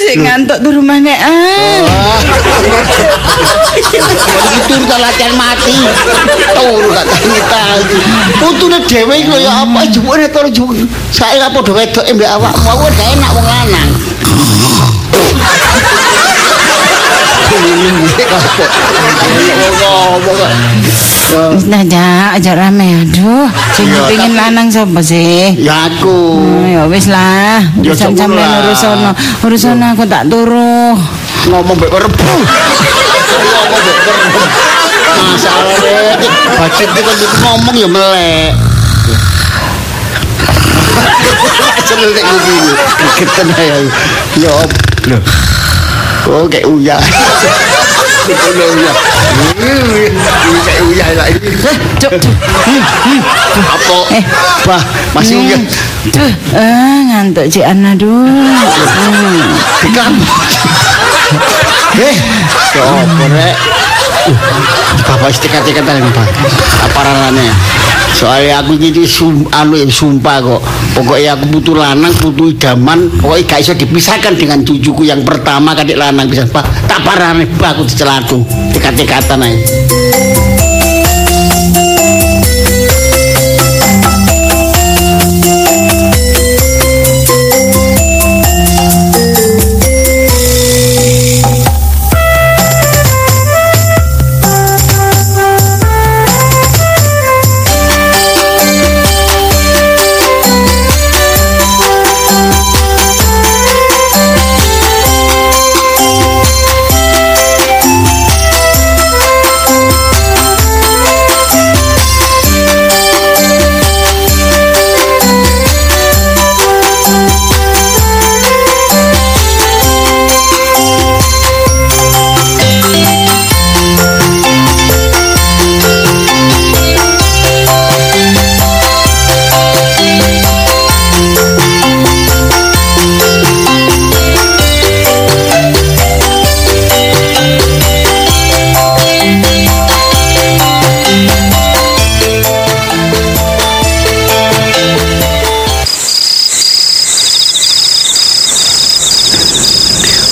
B: Sik Uh,
A: Hmm.
B: ngantuk tuh rumah nek. ah.
A: Kon iki turu tak latihan mati. Turu gak tangi-tangi. Putune dhewe iku ya apa jupune turu jupu. Sae ra padha wedoke mbek awakmu. Aku gak enak wong lanang.
B: Nah, ja, aja rame. Aduh, sing
A: Oh. Iya,
B: pengin
A: tapi-
B: lanang sapa sih?
A: Ya aku.
B: Oh, ya wis lah,
A: Ya,
B: urusan
A: cok, ngono
B: sampean
A: lah. Hmm.
B: urusono. Urusono aku tak turu.
A: ngomong bek rebu ngomong bek rebu masalah deh budget itu kan itu ngomong ya melek seneng nek kuwi keten ae kan ya op lho oh kayak uya Betul uya. Ini kayak uya lah ini.
B: Cuk, cuk.
A: Apa? Bah, masih
B: hmm.
A: uya.
B: Duh, eh ngantuk Cik Ana aduh.
A: Dikam. Eh, ya apa rek? Uh, Bapak istikat-ikat tadi Pak. Apa ranane? Soalnya aku gitu sum, anu ya, sumpah kok. Pokoknya aku butuh lanang, butuh idaman. Pokoknya gak bisa dipisahkan dengan cucuku yang pertama kadek lanang bisa pak. Tak parane pak aku dicelatu. Tikat-tikatan aja.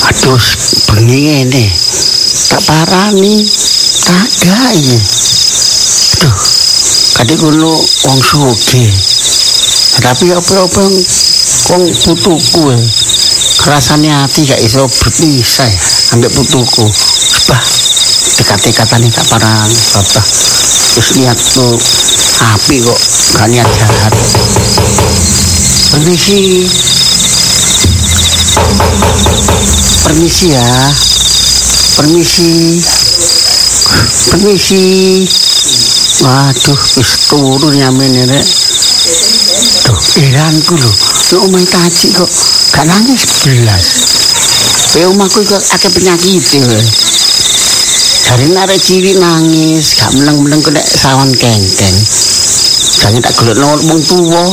A: Aduh, bengi ini tak parani, tak gai. Aduh, kadang kuno wong suge. Tapi apa-apa yang kong putuku ya. Rasanya hati gak iso berpisah ya, ambek putuku. Bah, dekat-dekatan ini tak parani, babah. Terus niat tuh api kok, gak niat jahat. Permisi, permisi ya permisi permisi waduh wis turu nyamene rek duh iranku lho nek omah taji kok gak nangis belas pe omahku kok akeh penyakit lho Hari narek cilik nangis, gak meneng-meneng kena sawan kengkeng. Jangan tak gelek nomor wong tuwa.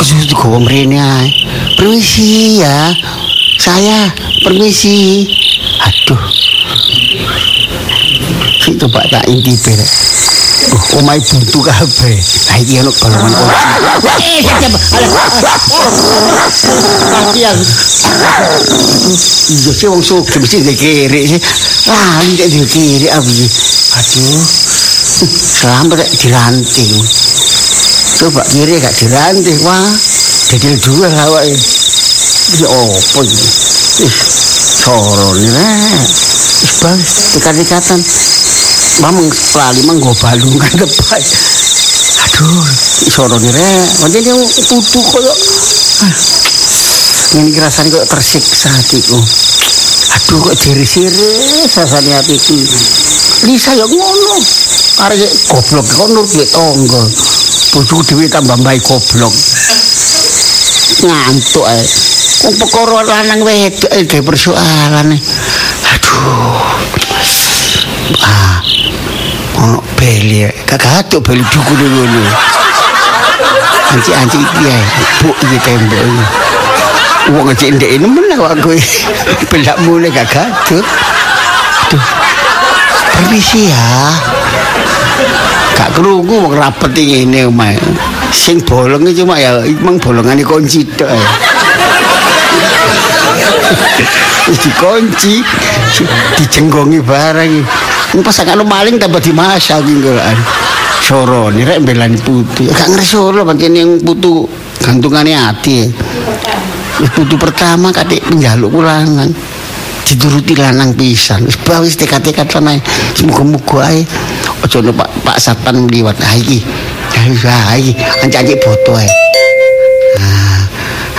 A: Kesusu gowo mrene ae. Permisi ya. Saya permisi. Aduh. Si coba tak intipe rek. Oh, omahe buntu kabeh. Lah iki ono golongan kunci.
E: Eh, jam.
A: Tapi aku iya sih wong sugih mesti ndek kiri sih. Wah, ndek ndek kiri aku sih. Aduh. Selamat rek diranting. Coba kiri gak diranting. Wah, jadi dua awake. Iki opo iki? Ih, sorone rek. Wis bang, dekat-dekatan. Mamang lali menggo [LAUGHS] balungan tepat. Aduh, sorone rek. Mending dia putu koyo ini rasanya kok tersiksa hatiku aduh kok jeris-jeris rasanya hatiku Lisa ya ngono arek goblok kok nur duwe tangga bojoku dhewe tambah mbai goblok ngantuk ae wong perkara lanang wedok eh dhewe persoalane aduh ah ono beli gak gatuk beli duku ngono anci-anci iki ae buk iki tembok iki Wong ngecek ndek ini menang awak kowe. Belak mulai gak gadut. Aduh. Permisi ya. Gak krungu wong rapet iki ngene omahe. Sing bolonge cuma ya emang bolongane kunci tok. ae. Wis dikunci, dijenggongi barang. Ini pas sakno maling tambah dimasak iki ngono. Sorone rek mbelani putu. Gak ngresuk lho pancen yang putu gantungane ati. Wis putu pertama katik njaluk kulangan. Dituruti lanang pisan. Wis ba wis tekad-tekad ana. Semoga-moga ae aja ono Pak Pak Satan liwat ha iki. Ha iki, ha iki ancak-ancak boto ae. Ah,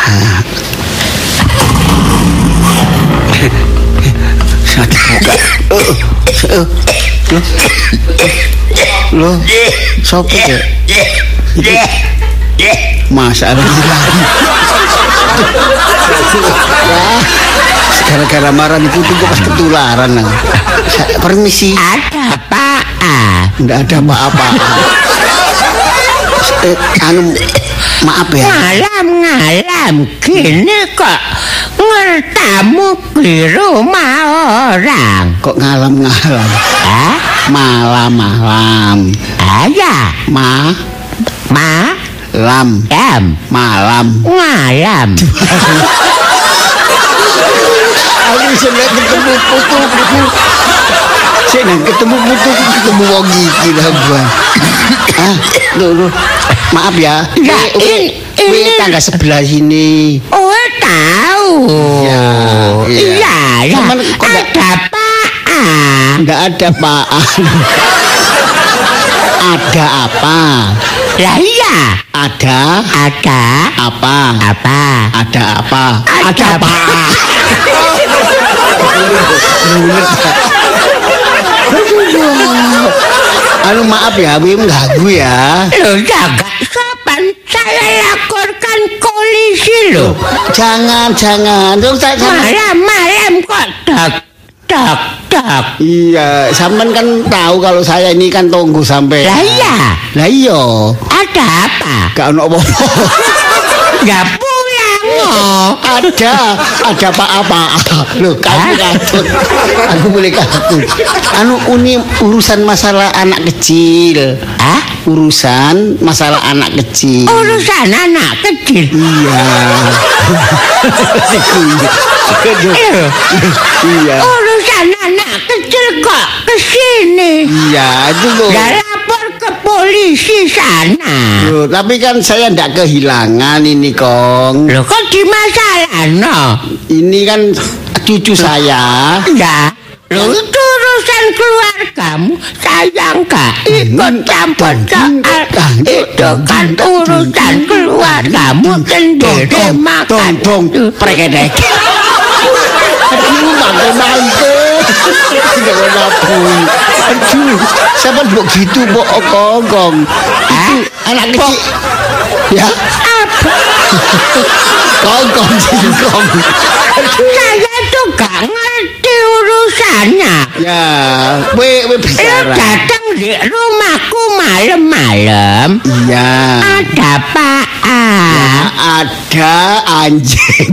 A: ah. Satu buka. Eh, eh, Loh. Loh. Sopo kek? Iki. Masa ada di lari. Wah, Gara-gara marah di putu kok pas ketularan nah. Sa- Permisi
B: Ada apa? Ah,
A: Nggak ada apa-apa Eh, Anu Maaf ya
B: Ngalam-ngalam gini kok ngertamu di rumah orang.
A: Kok ngalam-ngalam
B: Ah,
A: Malam-malam
B: ayah,
A: Ma
B: ma,
A: Lam
B: em,
A: Malam
B: ngalam.
A: Aku bisa lihat ketemu putu putu Saya nak ketemu putu Ketemu wong gigi lah gua Ah, loh, loh. Maaf ya
B: Ya,
A: Ini-
B: ini-
A: Ini tangga sebelah sini
B: Oh, tahu.
A: Ya, iya.
B: Iya, ya.
A: Cuman kok nggak-
B: Ada apa? Ah,
A: Enggak ada Pak. ada apa?
B: lah iya.
A: Ada
B: Ada
A: apa?
B: apa?
A: Ada apa? Ada apa? Anu maaf ya, Wim ganggu ya.
B: Lo jaga sopan saya laporkan polisi lo.
A: Jangan, jangan. Terus tak sama.
B: Malam-malam kok dak dak dak.
A: Iya, sampean kan tahu kalau saya ini kan tunggu sampai.
B: Lah iya,
A: Lah iya.
B: ada apa?
A: Gak ono apa-apa.
B: Gak pulang oh.
A: ada ada pak apa lo kamu katut aku boleh katut anu ini urusan masalah anak kecil
B: Hah?
A: urusan masalah anak kecil
B: Oh, Urusan anak kecil.
A: iya Aduh,
B: Eh,
A: iya
B: Urusan anak kecil kok kesini.
A: iya itu loh
B: Gak lapor ke polisi sana.
A: Loh, tapi kan saya ndak kehilangan ini kong
B: Lo kok di masalah no?
A: ini kan cucu saya
B: Ya. Lo itu urusan keluargamu sayang gak ikut campur soal itu kan urusan keluargamu sendiri
A: Dong, dong,
B: makan
A: dong,
B: itu.
A: prekene. Aduh, mangke mangke. Tidak nabung. Aduh, siapa buat gitu, bu kongkong. Itu anak kecil. Ya, kongkong jingkong.
B: Saya tuh gak ngerti urusannya.
A: Ya, we we
B: Lo
A: bicara.
B: datang di rumahku malam-malam.
A: Iya. Dạ.
B: Ada apa?
A: ada anjing.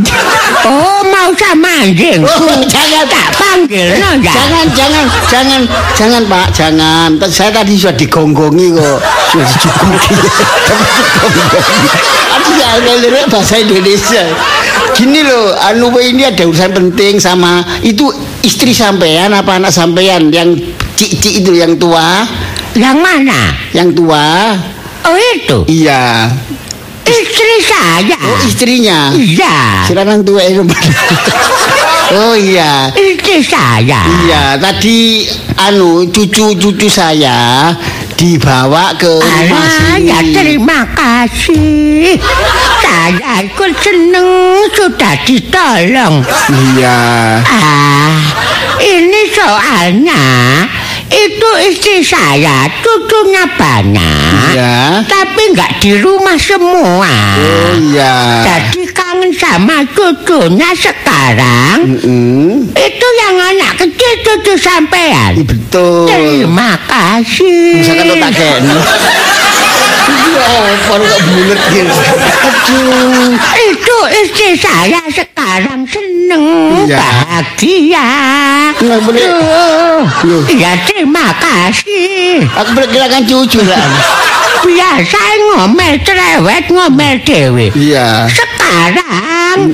B: Oh, mau sama anjing.
A: Oh, jangan.
B: tak panggil no, ya.
A: Jangan, jangan, jangan, jangan Pak, jangan. T- Saya tadi sudah digonggongi kok, sudah dicukupi. [LAUGHS] Aduh, ya, ya, ya, ya, bahasa Indonesia. Gini loh, anu Pak, ini ada urusan penting sama itu istri sampean apa anak sampean yang cik-cik itu yang tua,
B: Yang mana?
A: yang tua.
B: Oh itu.
A: Iya.
B: Istri saya.
A: Oh, istrinya.
B: Iya.
A: Silakan tua itu. [LAUGHS] Oh iya.
B: Istri saya.
A: Iya, tadi anu cucu-cucu saya dibawa ke rumah
B: Alah,
A: sini.
B: ya terima kasih. Saya ikut seneng sudah ditolong.
A: Iya.
B: Ah, ini soalnya itu istri saya cucunya banyak,
A: Iya.
B: tapi nggak di rumah semua.
A: Oh iya.
B: Jadi kangen sama cucunya sekarang.
A: Mm-mm.
B: Itu yang anak kecil cucu
A: Hmm, Iya,
B: sampean.
A: betul.
B: Terima kasih.
A: Misalkan lo tak kena. Iya, apa kok bulet gitu. Aduh.
B: Itu istri saya sekarang seneng
A: Iya.
B: bahagia.
A: Nggak boleh.
B: Tuh.
A: Loh.
B: Ya terima kasih.
A: Aku berkirakan cucu lah.
B: Biasa ngomel cerewet ngomel dewi.
A: Iya.
B: Sekarang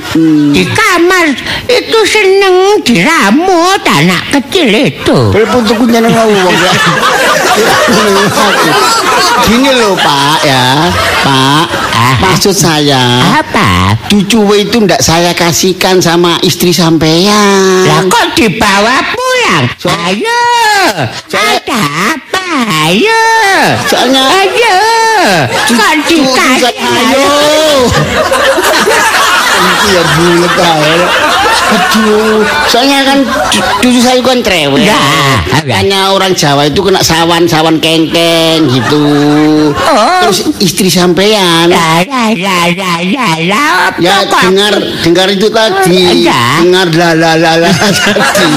B: di kamar itu seneng diramut anak kecil itu.
A: Boleh pun tuku nyeneng aku wong ya. Gini loh Pak ya, Pak. Maksud saya,
B: Apa?
A: Cucu itu ndak saya kasihkan sama istri sampean.
B: Lah kok dibawa pulang? ayo.
A: Soalnya-
B: Ada apa? Ayo.
A: Soalnya-
B: ayo. Kok
A: Cucu saya-
B: dikasih?
A: ayo. Itu ya bulet aja. Aduh, soalnya kan cu- cucu saya kan cerewet.
B: Ya, ya.
A: Hanya orang Jawa itu kena sawan-sawan kengkeng gitu.
B: Oh.
A: Terus istri sampean
B: La la la la la la.
A: ya
B: ya, Apa kok-
A: dengar dengar itu tadi.
B: Ya.
A: Dengar la la la la tadi.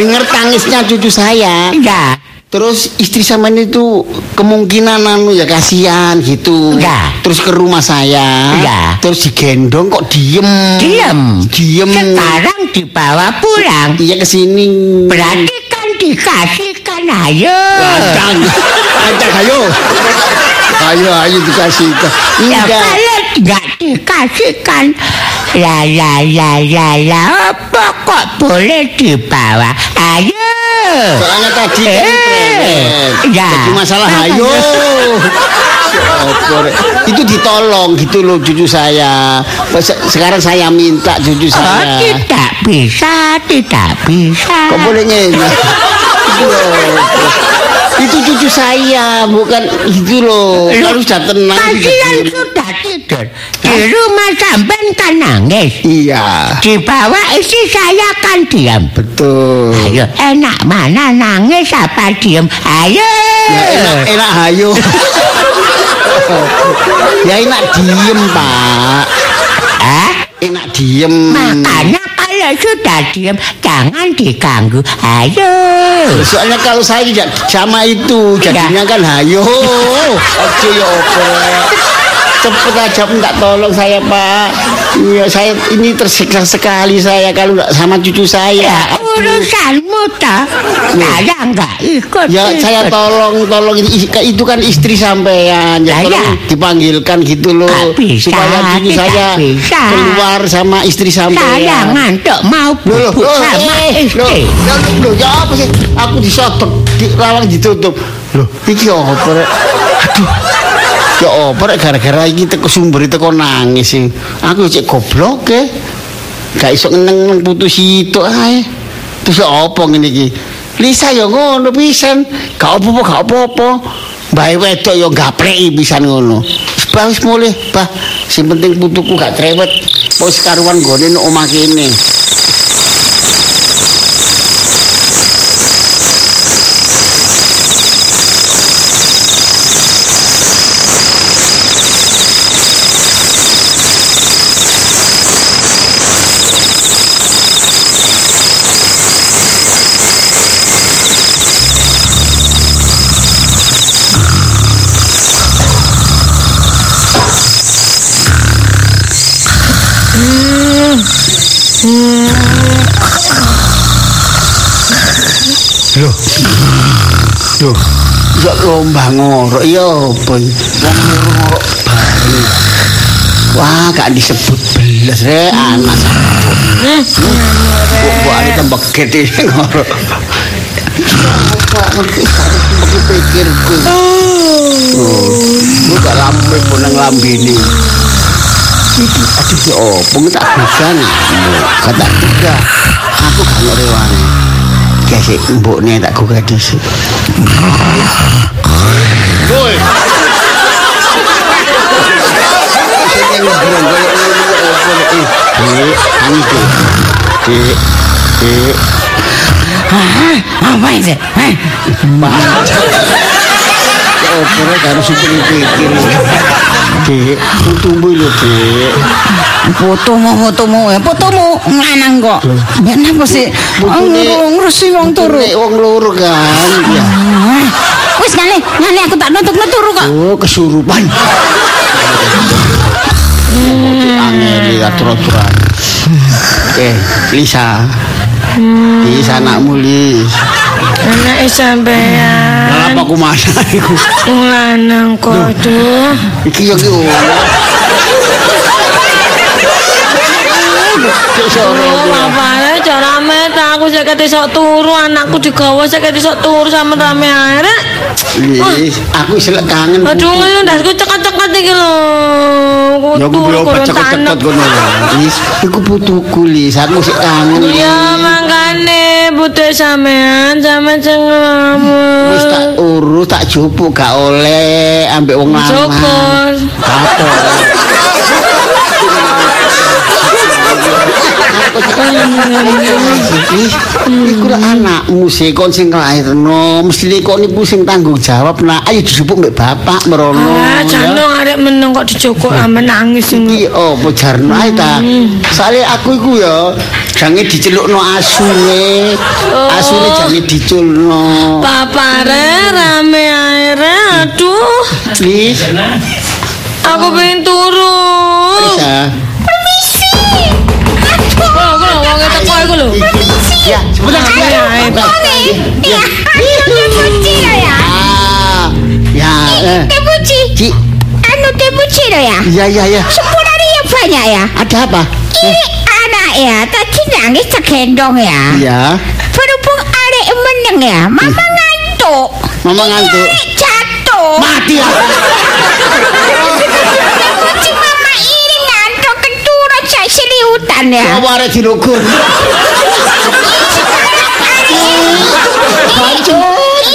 A: dengar tangisnya cucu saya.
B: Ya.
A: Terus istri sama ini tuh kemungkinan anu ya kasihan gitu.
B: Ya.
A: Terus ke rumah saya.
B: Ya.
A: Terus digendong kok diem.
B: Diem. Kan
A: Diem.
B: Sekarang dibawa pulang.
A: Iya ke sini.
B: Berarti kan dikasihkan ah, ya. ayo.
A: Kacang. Kacang ayo. Ayo ayo dikasih.
B: Ya
A: Enggak.
B: kalau nggak dikasihkan ya, La la la la la ya, Apa kok boleh Ah, dibawa Ayo ya.
A: Soalnya tadi kan
B: Eh,
A: cerewet.
B: ya.
A: Jadi masalah hayo. Opor. itu ditolong gitu loh cucu saya. Se- Sekarang saya minta cucu
B: Oh
A: saya.
B: tidak bisa Tidak bisa
A: Kok boleh ngene? Itu loh. Itu cucu saya, bukan itu loh. Harus sudah tenang.
B: Kasihan
A: sudah tenang.
B: sudah tidur Di rumah sampean kan nangis
A: Iya,
B: Dibawa istri saya kan diam
A: betul.
B: Ayo enak mana nangis apa diam Ayo
A: Ya, enak, enak hayo. [LAUGHS] ya enak diem, Pak.
B: Hah?
A: Enak diem.
B: Makanya kalau sudah diam jangan diganggu. Ayo.
A: Soalnya kalau saya tidak sama itu, jadinya kan hayo. Oke, ya opo. Cepet aja minta tolong saya, Pak. Iya, saya ini tersiksa sekali saya kalau nggak sama cucu
B: Ya
A: saya.
B: urusanmu toh. Saya nggak ikut.
A: Ya saya tolong tolong ini- itu kan istri sampean ya
B: Lah,
A: tolong
B: ya.
A: dipanggilkan gitu loh
B: Nggak bisa,
A: supaya cucu
B: tidak
A: saya
B: bisa.
A: keluar sama istri
B: Saya
A: sampean.
B: ngantuk mau
A: Loh, loh,
B: bubuk
A: loh,
B: sama
A: eh, loh,
B: istri.
A: loh, loh, ya apa sih? Aku disotok, di, lawang ditutup. Loh, iki apa rek? Aduh. Ya apa rek gara-gara iki teko sumber teko nangis sih. Aku cek goblok e. Gak iso ngeneng putus itu ae. Terus ya apa ngene iki? Lisa ya ngono pisan. Gak apa-apa, gak apa-apa. Bae wedok ya gapleki pisan ngono. Bah wis mulih, bah. Sing penting putuku gak trewet. Wis karuan gone nang omah kene. Loh. Loh. Kok lomba ngorok ya apa iki? Wong loro ngorok bareng. Wah, gak disebut belas rek anak. Kok buane tambah gede [LAUGHS] ngorok. pikirku. Gue Oh, gak lambe ponang lambini. Iki aduh ya opo tak bukan. Kata tiga. Aku gak ngerti wae. Gesek mbokne tak gue kadus.
F: Woi,
B: Hah? Apa ini? Hah?
A: Opore karo supir pikir. Dek, tumbuh lho, Dek.
E: Fotomu, fotomu, eh, fotomu lanang kok. Ya napa sih? Oh, ngurung- Ngurusi wong turu.
A: Nek wong loro kan. Ya.
E: Ah, Wis ngale, ngale aku tak nutuk-nutuk turu kok.
A: Oh, kesurupan. Angeli atur-aturan. ya, Oke, Lisa. Lisa anakmu, Lis.
C: Anak e sampean
A: Lah apa aku mana iku?
C: wong lanang kok aduh.
A: Iki yo ki ora. Cek sore.
C: Oh, bapaknya cara met aku saya sok turu, anakku digawa saya sok turu sama rame arek.
A: Lis, aku selek kangen.
C: Aduh, ngono ndasku cekot-cekot iki lho.
A: Ya aku
C: Kutu
A: belum
C: kurun
A: cekot-cekot
C: tanek.
A: ngono lho. Lis, iku putuku Lis, aku sik kangen.
C: Ya
A: Lis.
C: mangkane butuh sampean sama cengamu.
A: Wis tak urus, tak jupuk gak oleh ambek wong lanang.
C: Syukur.
A: Apa? Ih, Iku lah anakmu sih kon sing nglairno, mesti kon iku sing tanggung jawab. Nah, ayo dijupuk mbek bapak merono.
C: Ah,
A: ya. Iya.
C: jano arek meneng kok dijoko ame nangis ngono.
A: Iki opo jarno ae ta? Soale aku iku ya jange dicelukno asune.
C: Oh.
A: Asune jange diculno.
C: Papare rame aere aduh
A: Please,
C: aku pengen turu.
A: Lisa.
C: Lho, lho, wong teko iku lho.
A: Ya, sebentar.
C: Rame
A: ya.
C: aere.
B: Ya, anu dipuji lo ya.
A: Ah, ya. eh.
B: Dipuji.
A: Ki,
B: Anu dipuji lo ya.
A: ya ya ya.
B: Sepurane ya banyak ya.
A: Ada apa?
B: Ini anak ya, tadi nangis tergendong ya.
A: Ya.
B: Berhubung arek meneng ya, mama ngantuk.
A: Mama ngantuk.
B: Arek jatuh.
A: Mati ya.
B: Kunci mama ini ngantuk keturut saya sini hutan ya.
A: Apa arek dilugur?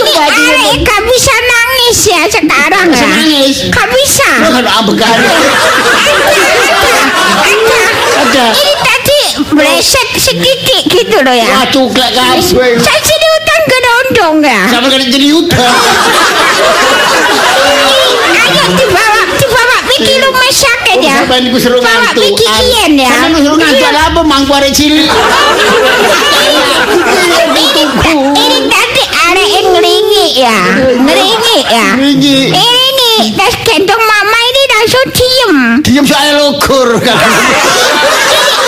B: Ini arek gak bisa nangis ya sekarang ya.
A: Nangis.
B: Gak bisa.
A: Lo kan ambekan. Ada.
B: Ini tadi meleset sedikit gitu loh
A: Wah,
B: ya.
A: cuklek kabeh.
B: Saya sini hutan gerondong ya.
A: Sampai kena jadi udah.
B: Ayo dibawa, dibawa pikir rumah sakit ya.
A: Sampai niku seru
B: Bawa
A: ngantuk.
B: pikir kian ya.
A: Sampai niku seru ngantuk lah apa mangku arek cilik.
B: Ini tadi ada yang ngeringi ya Ngeringi ya
A: Iki
B: Ini nih Tas gendong mama ini langsung diem
A: diam soalnya lugur kan.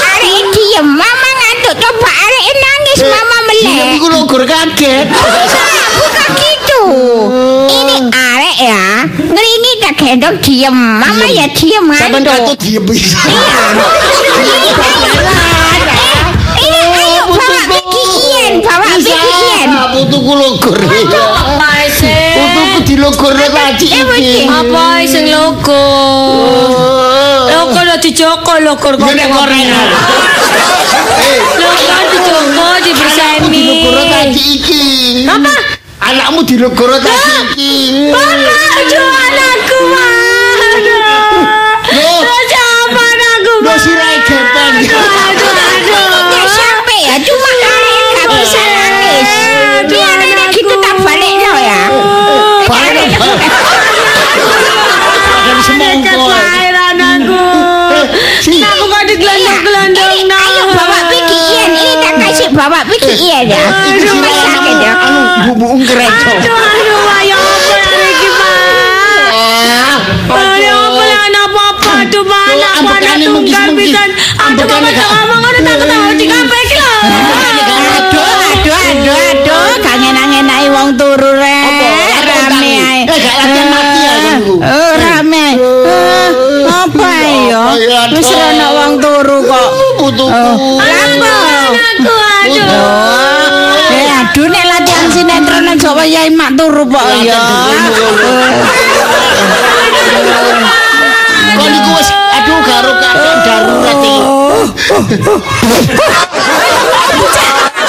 B: Ada yang diem Mama ngantuk Coba ada yang nangis Mama melek
A: Diam iku lugur kaget.
B: Nah, Bukan gitu Ini arek ya Ngeringi tak gendong diem Mama ya diem
A: Sampai
B: ngantuk
A: ngantuk diam bisa.
B: Iya. Ini Eh, Oh, ayo bawa bikin Bawa bikin
A: Bisa, putuku lugur. iya.
C: Apa
A: Putuku
C: sih?
A: dilugur lagi iki.
C: Apa sing logo?
A: Oh,
C: Logo lo dijoko logo kok.
A: Yo nek korengan. Eh,
C: Logo dijoko
A: anakmu
C: dibersemi.
A: dilugur lagi iki.
C: Apa?
A: Anakmu dilugur lagi iki.
C: Aduh anakku. Aduh.
A: Loh,
C: Terus apa anakku?
A: loh sirahe gepeng.
C: Aduh aduh.
B: Ya sampai ya cuma kali nggak bisa nangis. Biar ada gitu tak balik lo ya.
A: Eh, Bareng. Bareng semongko.
C: Air anakku.
A: Eh, sini.
C: Aku kok digelandang-gelandang.
B: Ini ayo bawa pikiran ini tak kasih bawa pikiran ya.
A: Iki
B: Itu
A: sirahe
B: sakit ya.
A: Anu bubu ungkrek.
C: Aduh aduh ayo apa lagi Pak? Ayo apa yang anak apa-apa tuh Pak?
A: Tuh,
C: Anak apa anak
A: ambekane
C: tunggal
A: mungkis-mungkis.
C: pisan. Aduh
A: Ambekane
C: Bapak tak
A: gak-
C: ngomong ngono tak ketawa di kabeh iki lho.
A: Ambekane gak-
B: Aduh, aduh, aduh, aduh.
C: Eh,
B: Eh,
A: putuku.
G: Aku aduh.
B: Eh aduh nek latihan sinetron nang Jawa ya mak turu kok Ah, ya.
A: Iya. ya [LAUGHS] Kok niku wis aduh garuk kakek darurat iki.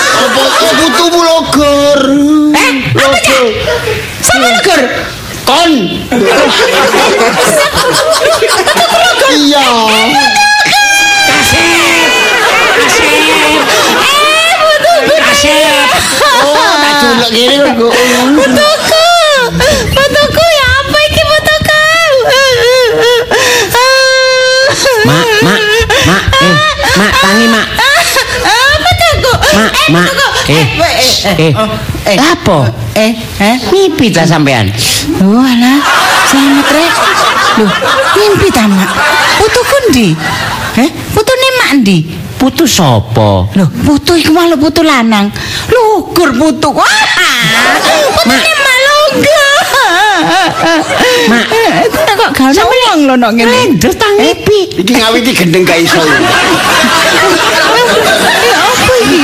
A: Apa kok putumu logor? Eh, logor.
B: Sama negur.
A: Kon. Iya. Oh, tak jolok kene kok.
B: Putuku. Putuku ya apa iki putuku?
C: Mak, mak, mak, eh, mak, tangi mak,
B: Ah, putuku.
C: mak, mak, eh, eh,
B: eh.
C: apa?
B: Eh, eh.
C: Mimpi ta sampean?
B: Wah, alah. Selamat rek. Loh, mimpi ta, Mak? Putuku ndi? Eh, putune Mak ndi?
C: Putu sopo?
B: Loh, putu iku malah putu lanang. Lugur putu. Wah. Putune Mak lugur.
C: Mak,
B: Kok kok gak ono wong lho nok ngene.
C: Lendes ta ngipi?
A: Iki ngawiti gendeng gak iso.
B: Eh, apa iki?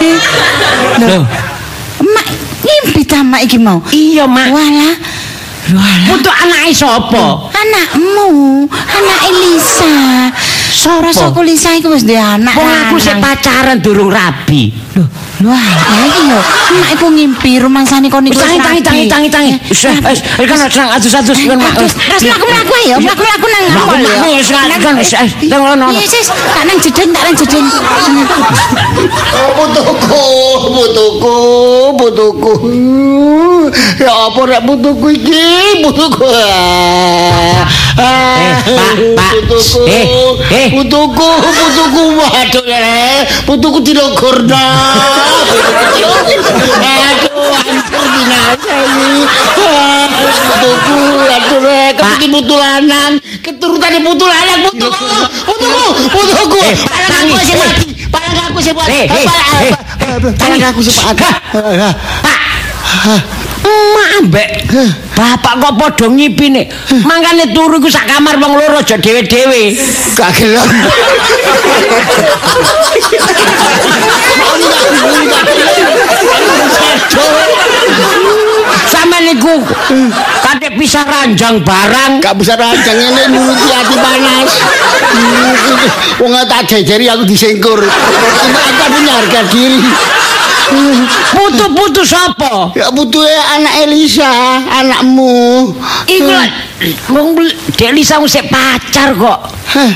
B: Eh,
C: Loh,
B: Mak ngimpi ta Mak iki mau?
C: iya mak,
B: Walah. Walah.
C: putu anake sopo?
B: Anakmu, anak Elisa. Sopo? Rasa kulisa iku wis duwe anak.
C: Wong aku sik
B: lanang.
C: pacaran durung rabi.
B: Loh, wah, ya iki yo. Mak iku ngimpi rumangsane kon iku.
C: Wis tangi, tangi, tangi, tangi, tangi. Wis, wis, wis, kan serang atus-atus kan mak.
B: Terus mlaku-mlaku ae yo, mlaku-mlaku nang
C: Mlaku,
B: ngapol
C: mlaku, wis, kan, wis, eh, teng ngono.
B: Iya, sis, tak nang jedeng, tak nang jedeng.
A: Oh, putuku, putuku, putuku. Ya apa rek putuku iki? Putuku. Eh,
C: Pak, Pak.
A: Putuku.
C: Eh, eh.
A: Putuku, putuku. Waduh, eh. Putuku dilogorno.
C: Eh,
A: Aduh, hancur binasa ini. Ah, Putuku, aduh, eh. Kepikin putu lanang. Keturutannya putu lanang, putuku. Putuku, putuku.
C: Eh, Pak,
A: Parang aku
C: tangi.
A: sing
C: Eh.
A: mati. Parang aku sing mati.
C: Eh, eh,
A: Parang-
C: eh.
A: Tangan aku sepakat.
C: Pak. Mak ambek bapak kok padha ngipine. Mangkane turu iku sak kamar wong loro aja [LAUGHS] dhewe-dhewe.
A: Gak gelem. Aku gak gelem, gak gelem.
C: Sama niku kadek pisah ranjang barang.
A: Gak bisa rancang ini nuruti hati panas. Wong tak jejeri aku disengkur. Cuma aku punya harga diri.
C: Putu-putu sapa?
A: Ya butuhnya anak Elisa, anakmu.
C: Iku lah, wong bel- Dek Lisa wis sik pacar kok.
A: Hah.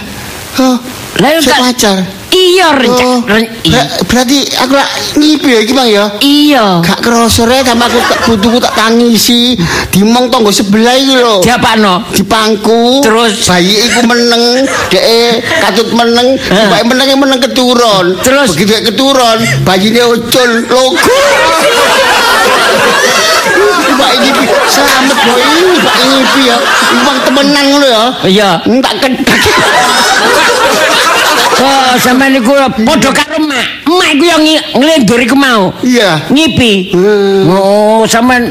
A: Oh,
C: Lah yo
A: saya
C: tak-
A: pacar.
C: Iya rencak.
A: Oh,
C: ren- i-
A: ber- berarti aku lah ngipi ya, iki bang ya.
C: Iya.
A: Gak
C: Oh.
A: kerosore sama aku tak butuhku tak tangisi. Dimong tonggo sebelah iki lho.
C: Diapakno?
A: dipangku
C: Terus?
A: bayi iku meneng dhek katut meneng
C: Heh.
A: bayi meneng meneng keturun
C: Terus?
A: begitu dhek keturun bayine ucul logo Mbak ini selamat boy Mbak ini ya Mbak temenan ngono ya
C: Iya.
A: tak kedak
C: Oh, sama niku padha karo mak. Mak iku yo ngi- nglendur iku mau.
A: iya
C: Ngipi.
A: Hmm.
C: Oh, sampean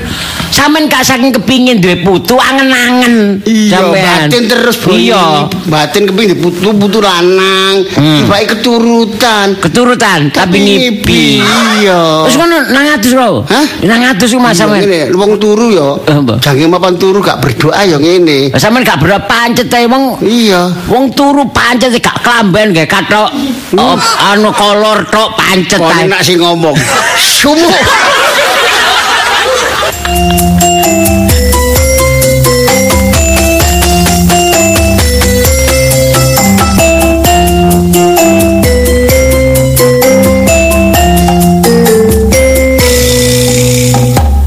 C: sampean gak saking kepingin duwe putu angen-angen.
A: Iya,
C: Sampean.
A: batin terus boy
C: Iya.
A: batin kepingin putu putu lanang
C: Hmm.
A: Mbak keturutan
C: Keturutan tapi ngipi.
A: iya
C: Terus ngono nang atus ro.
A: Hah?
C: Nang atus ku
A: Iya,
C: sampean.
A: ngene, wong turu ya.
C: Eh, mbak.
A: Jange mapan turu gak berdoa ya ngene.
C: Sampean gak berapa pancet ae wong
A: Iya.
C: Wong turu pancet gak klamben gak katok op- anu kolor tok pancet
A: Kok
C: ae.
A: enak
C: [LAUGHS]
A: sih ngomong. Sumuk.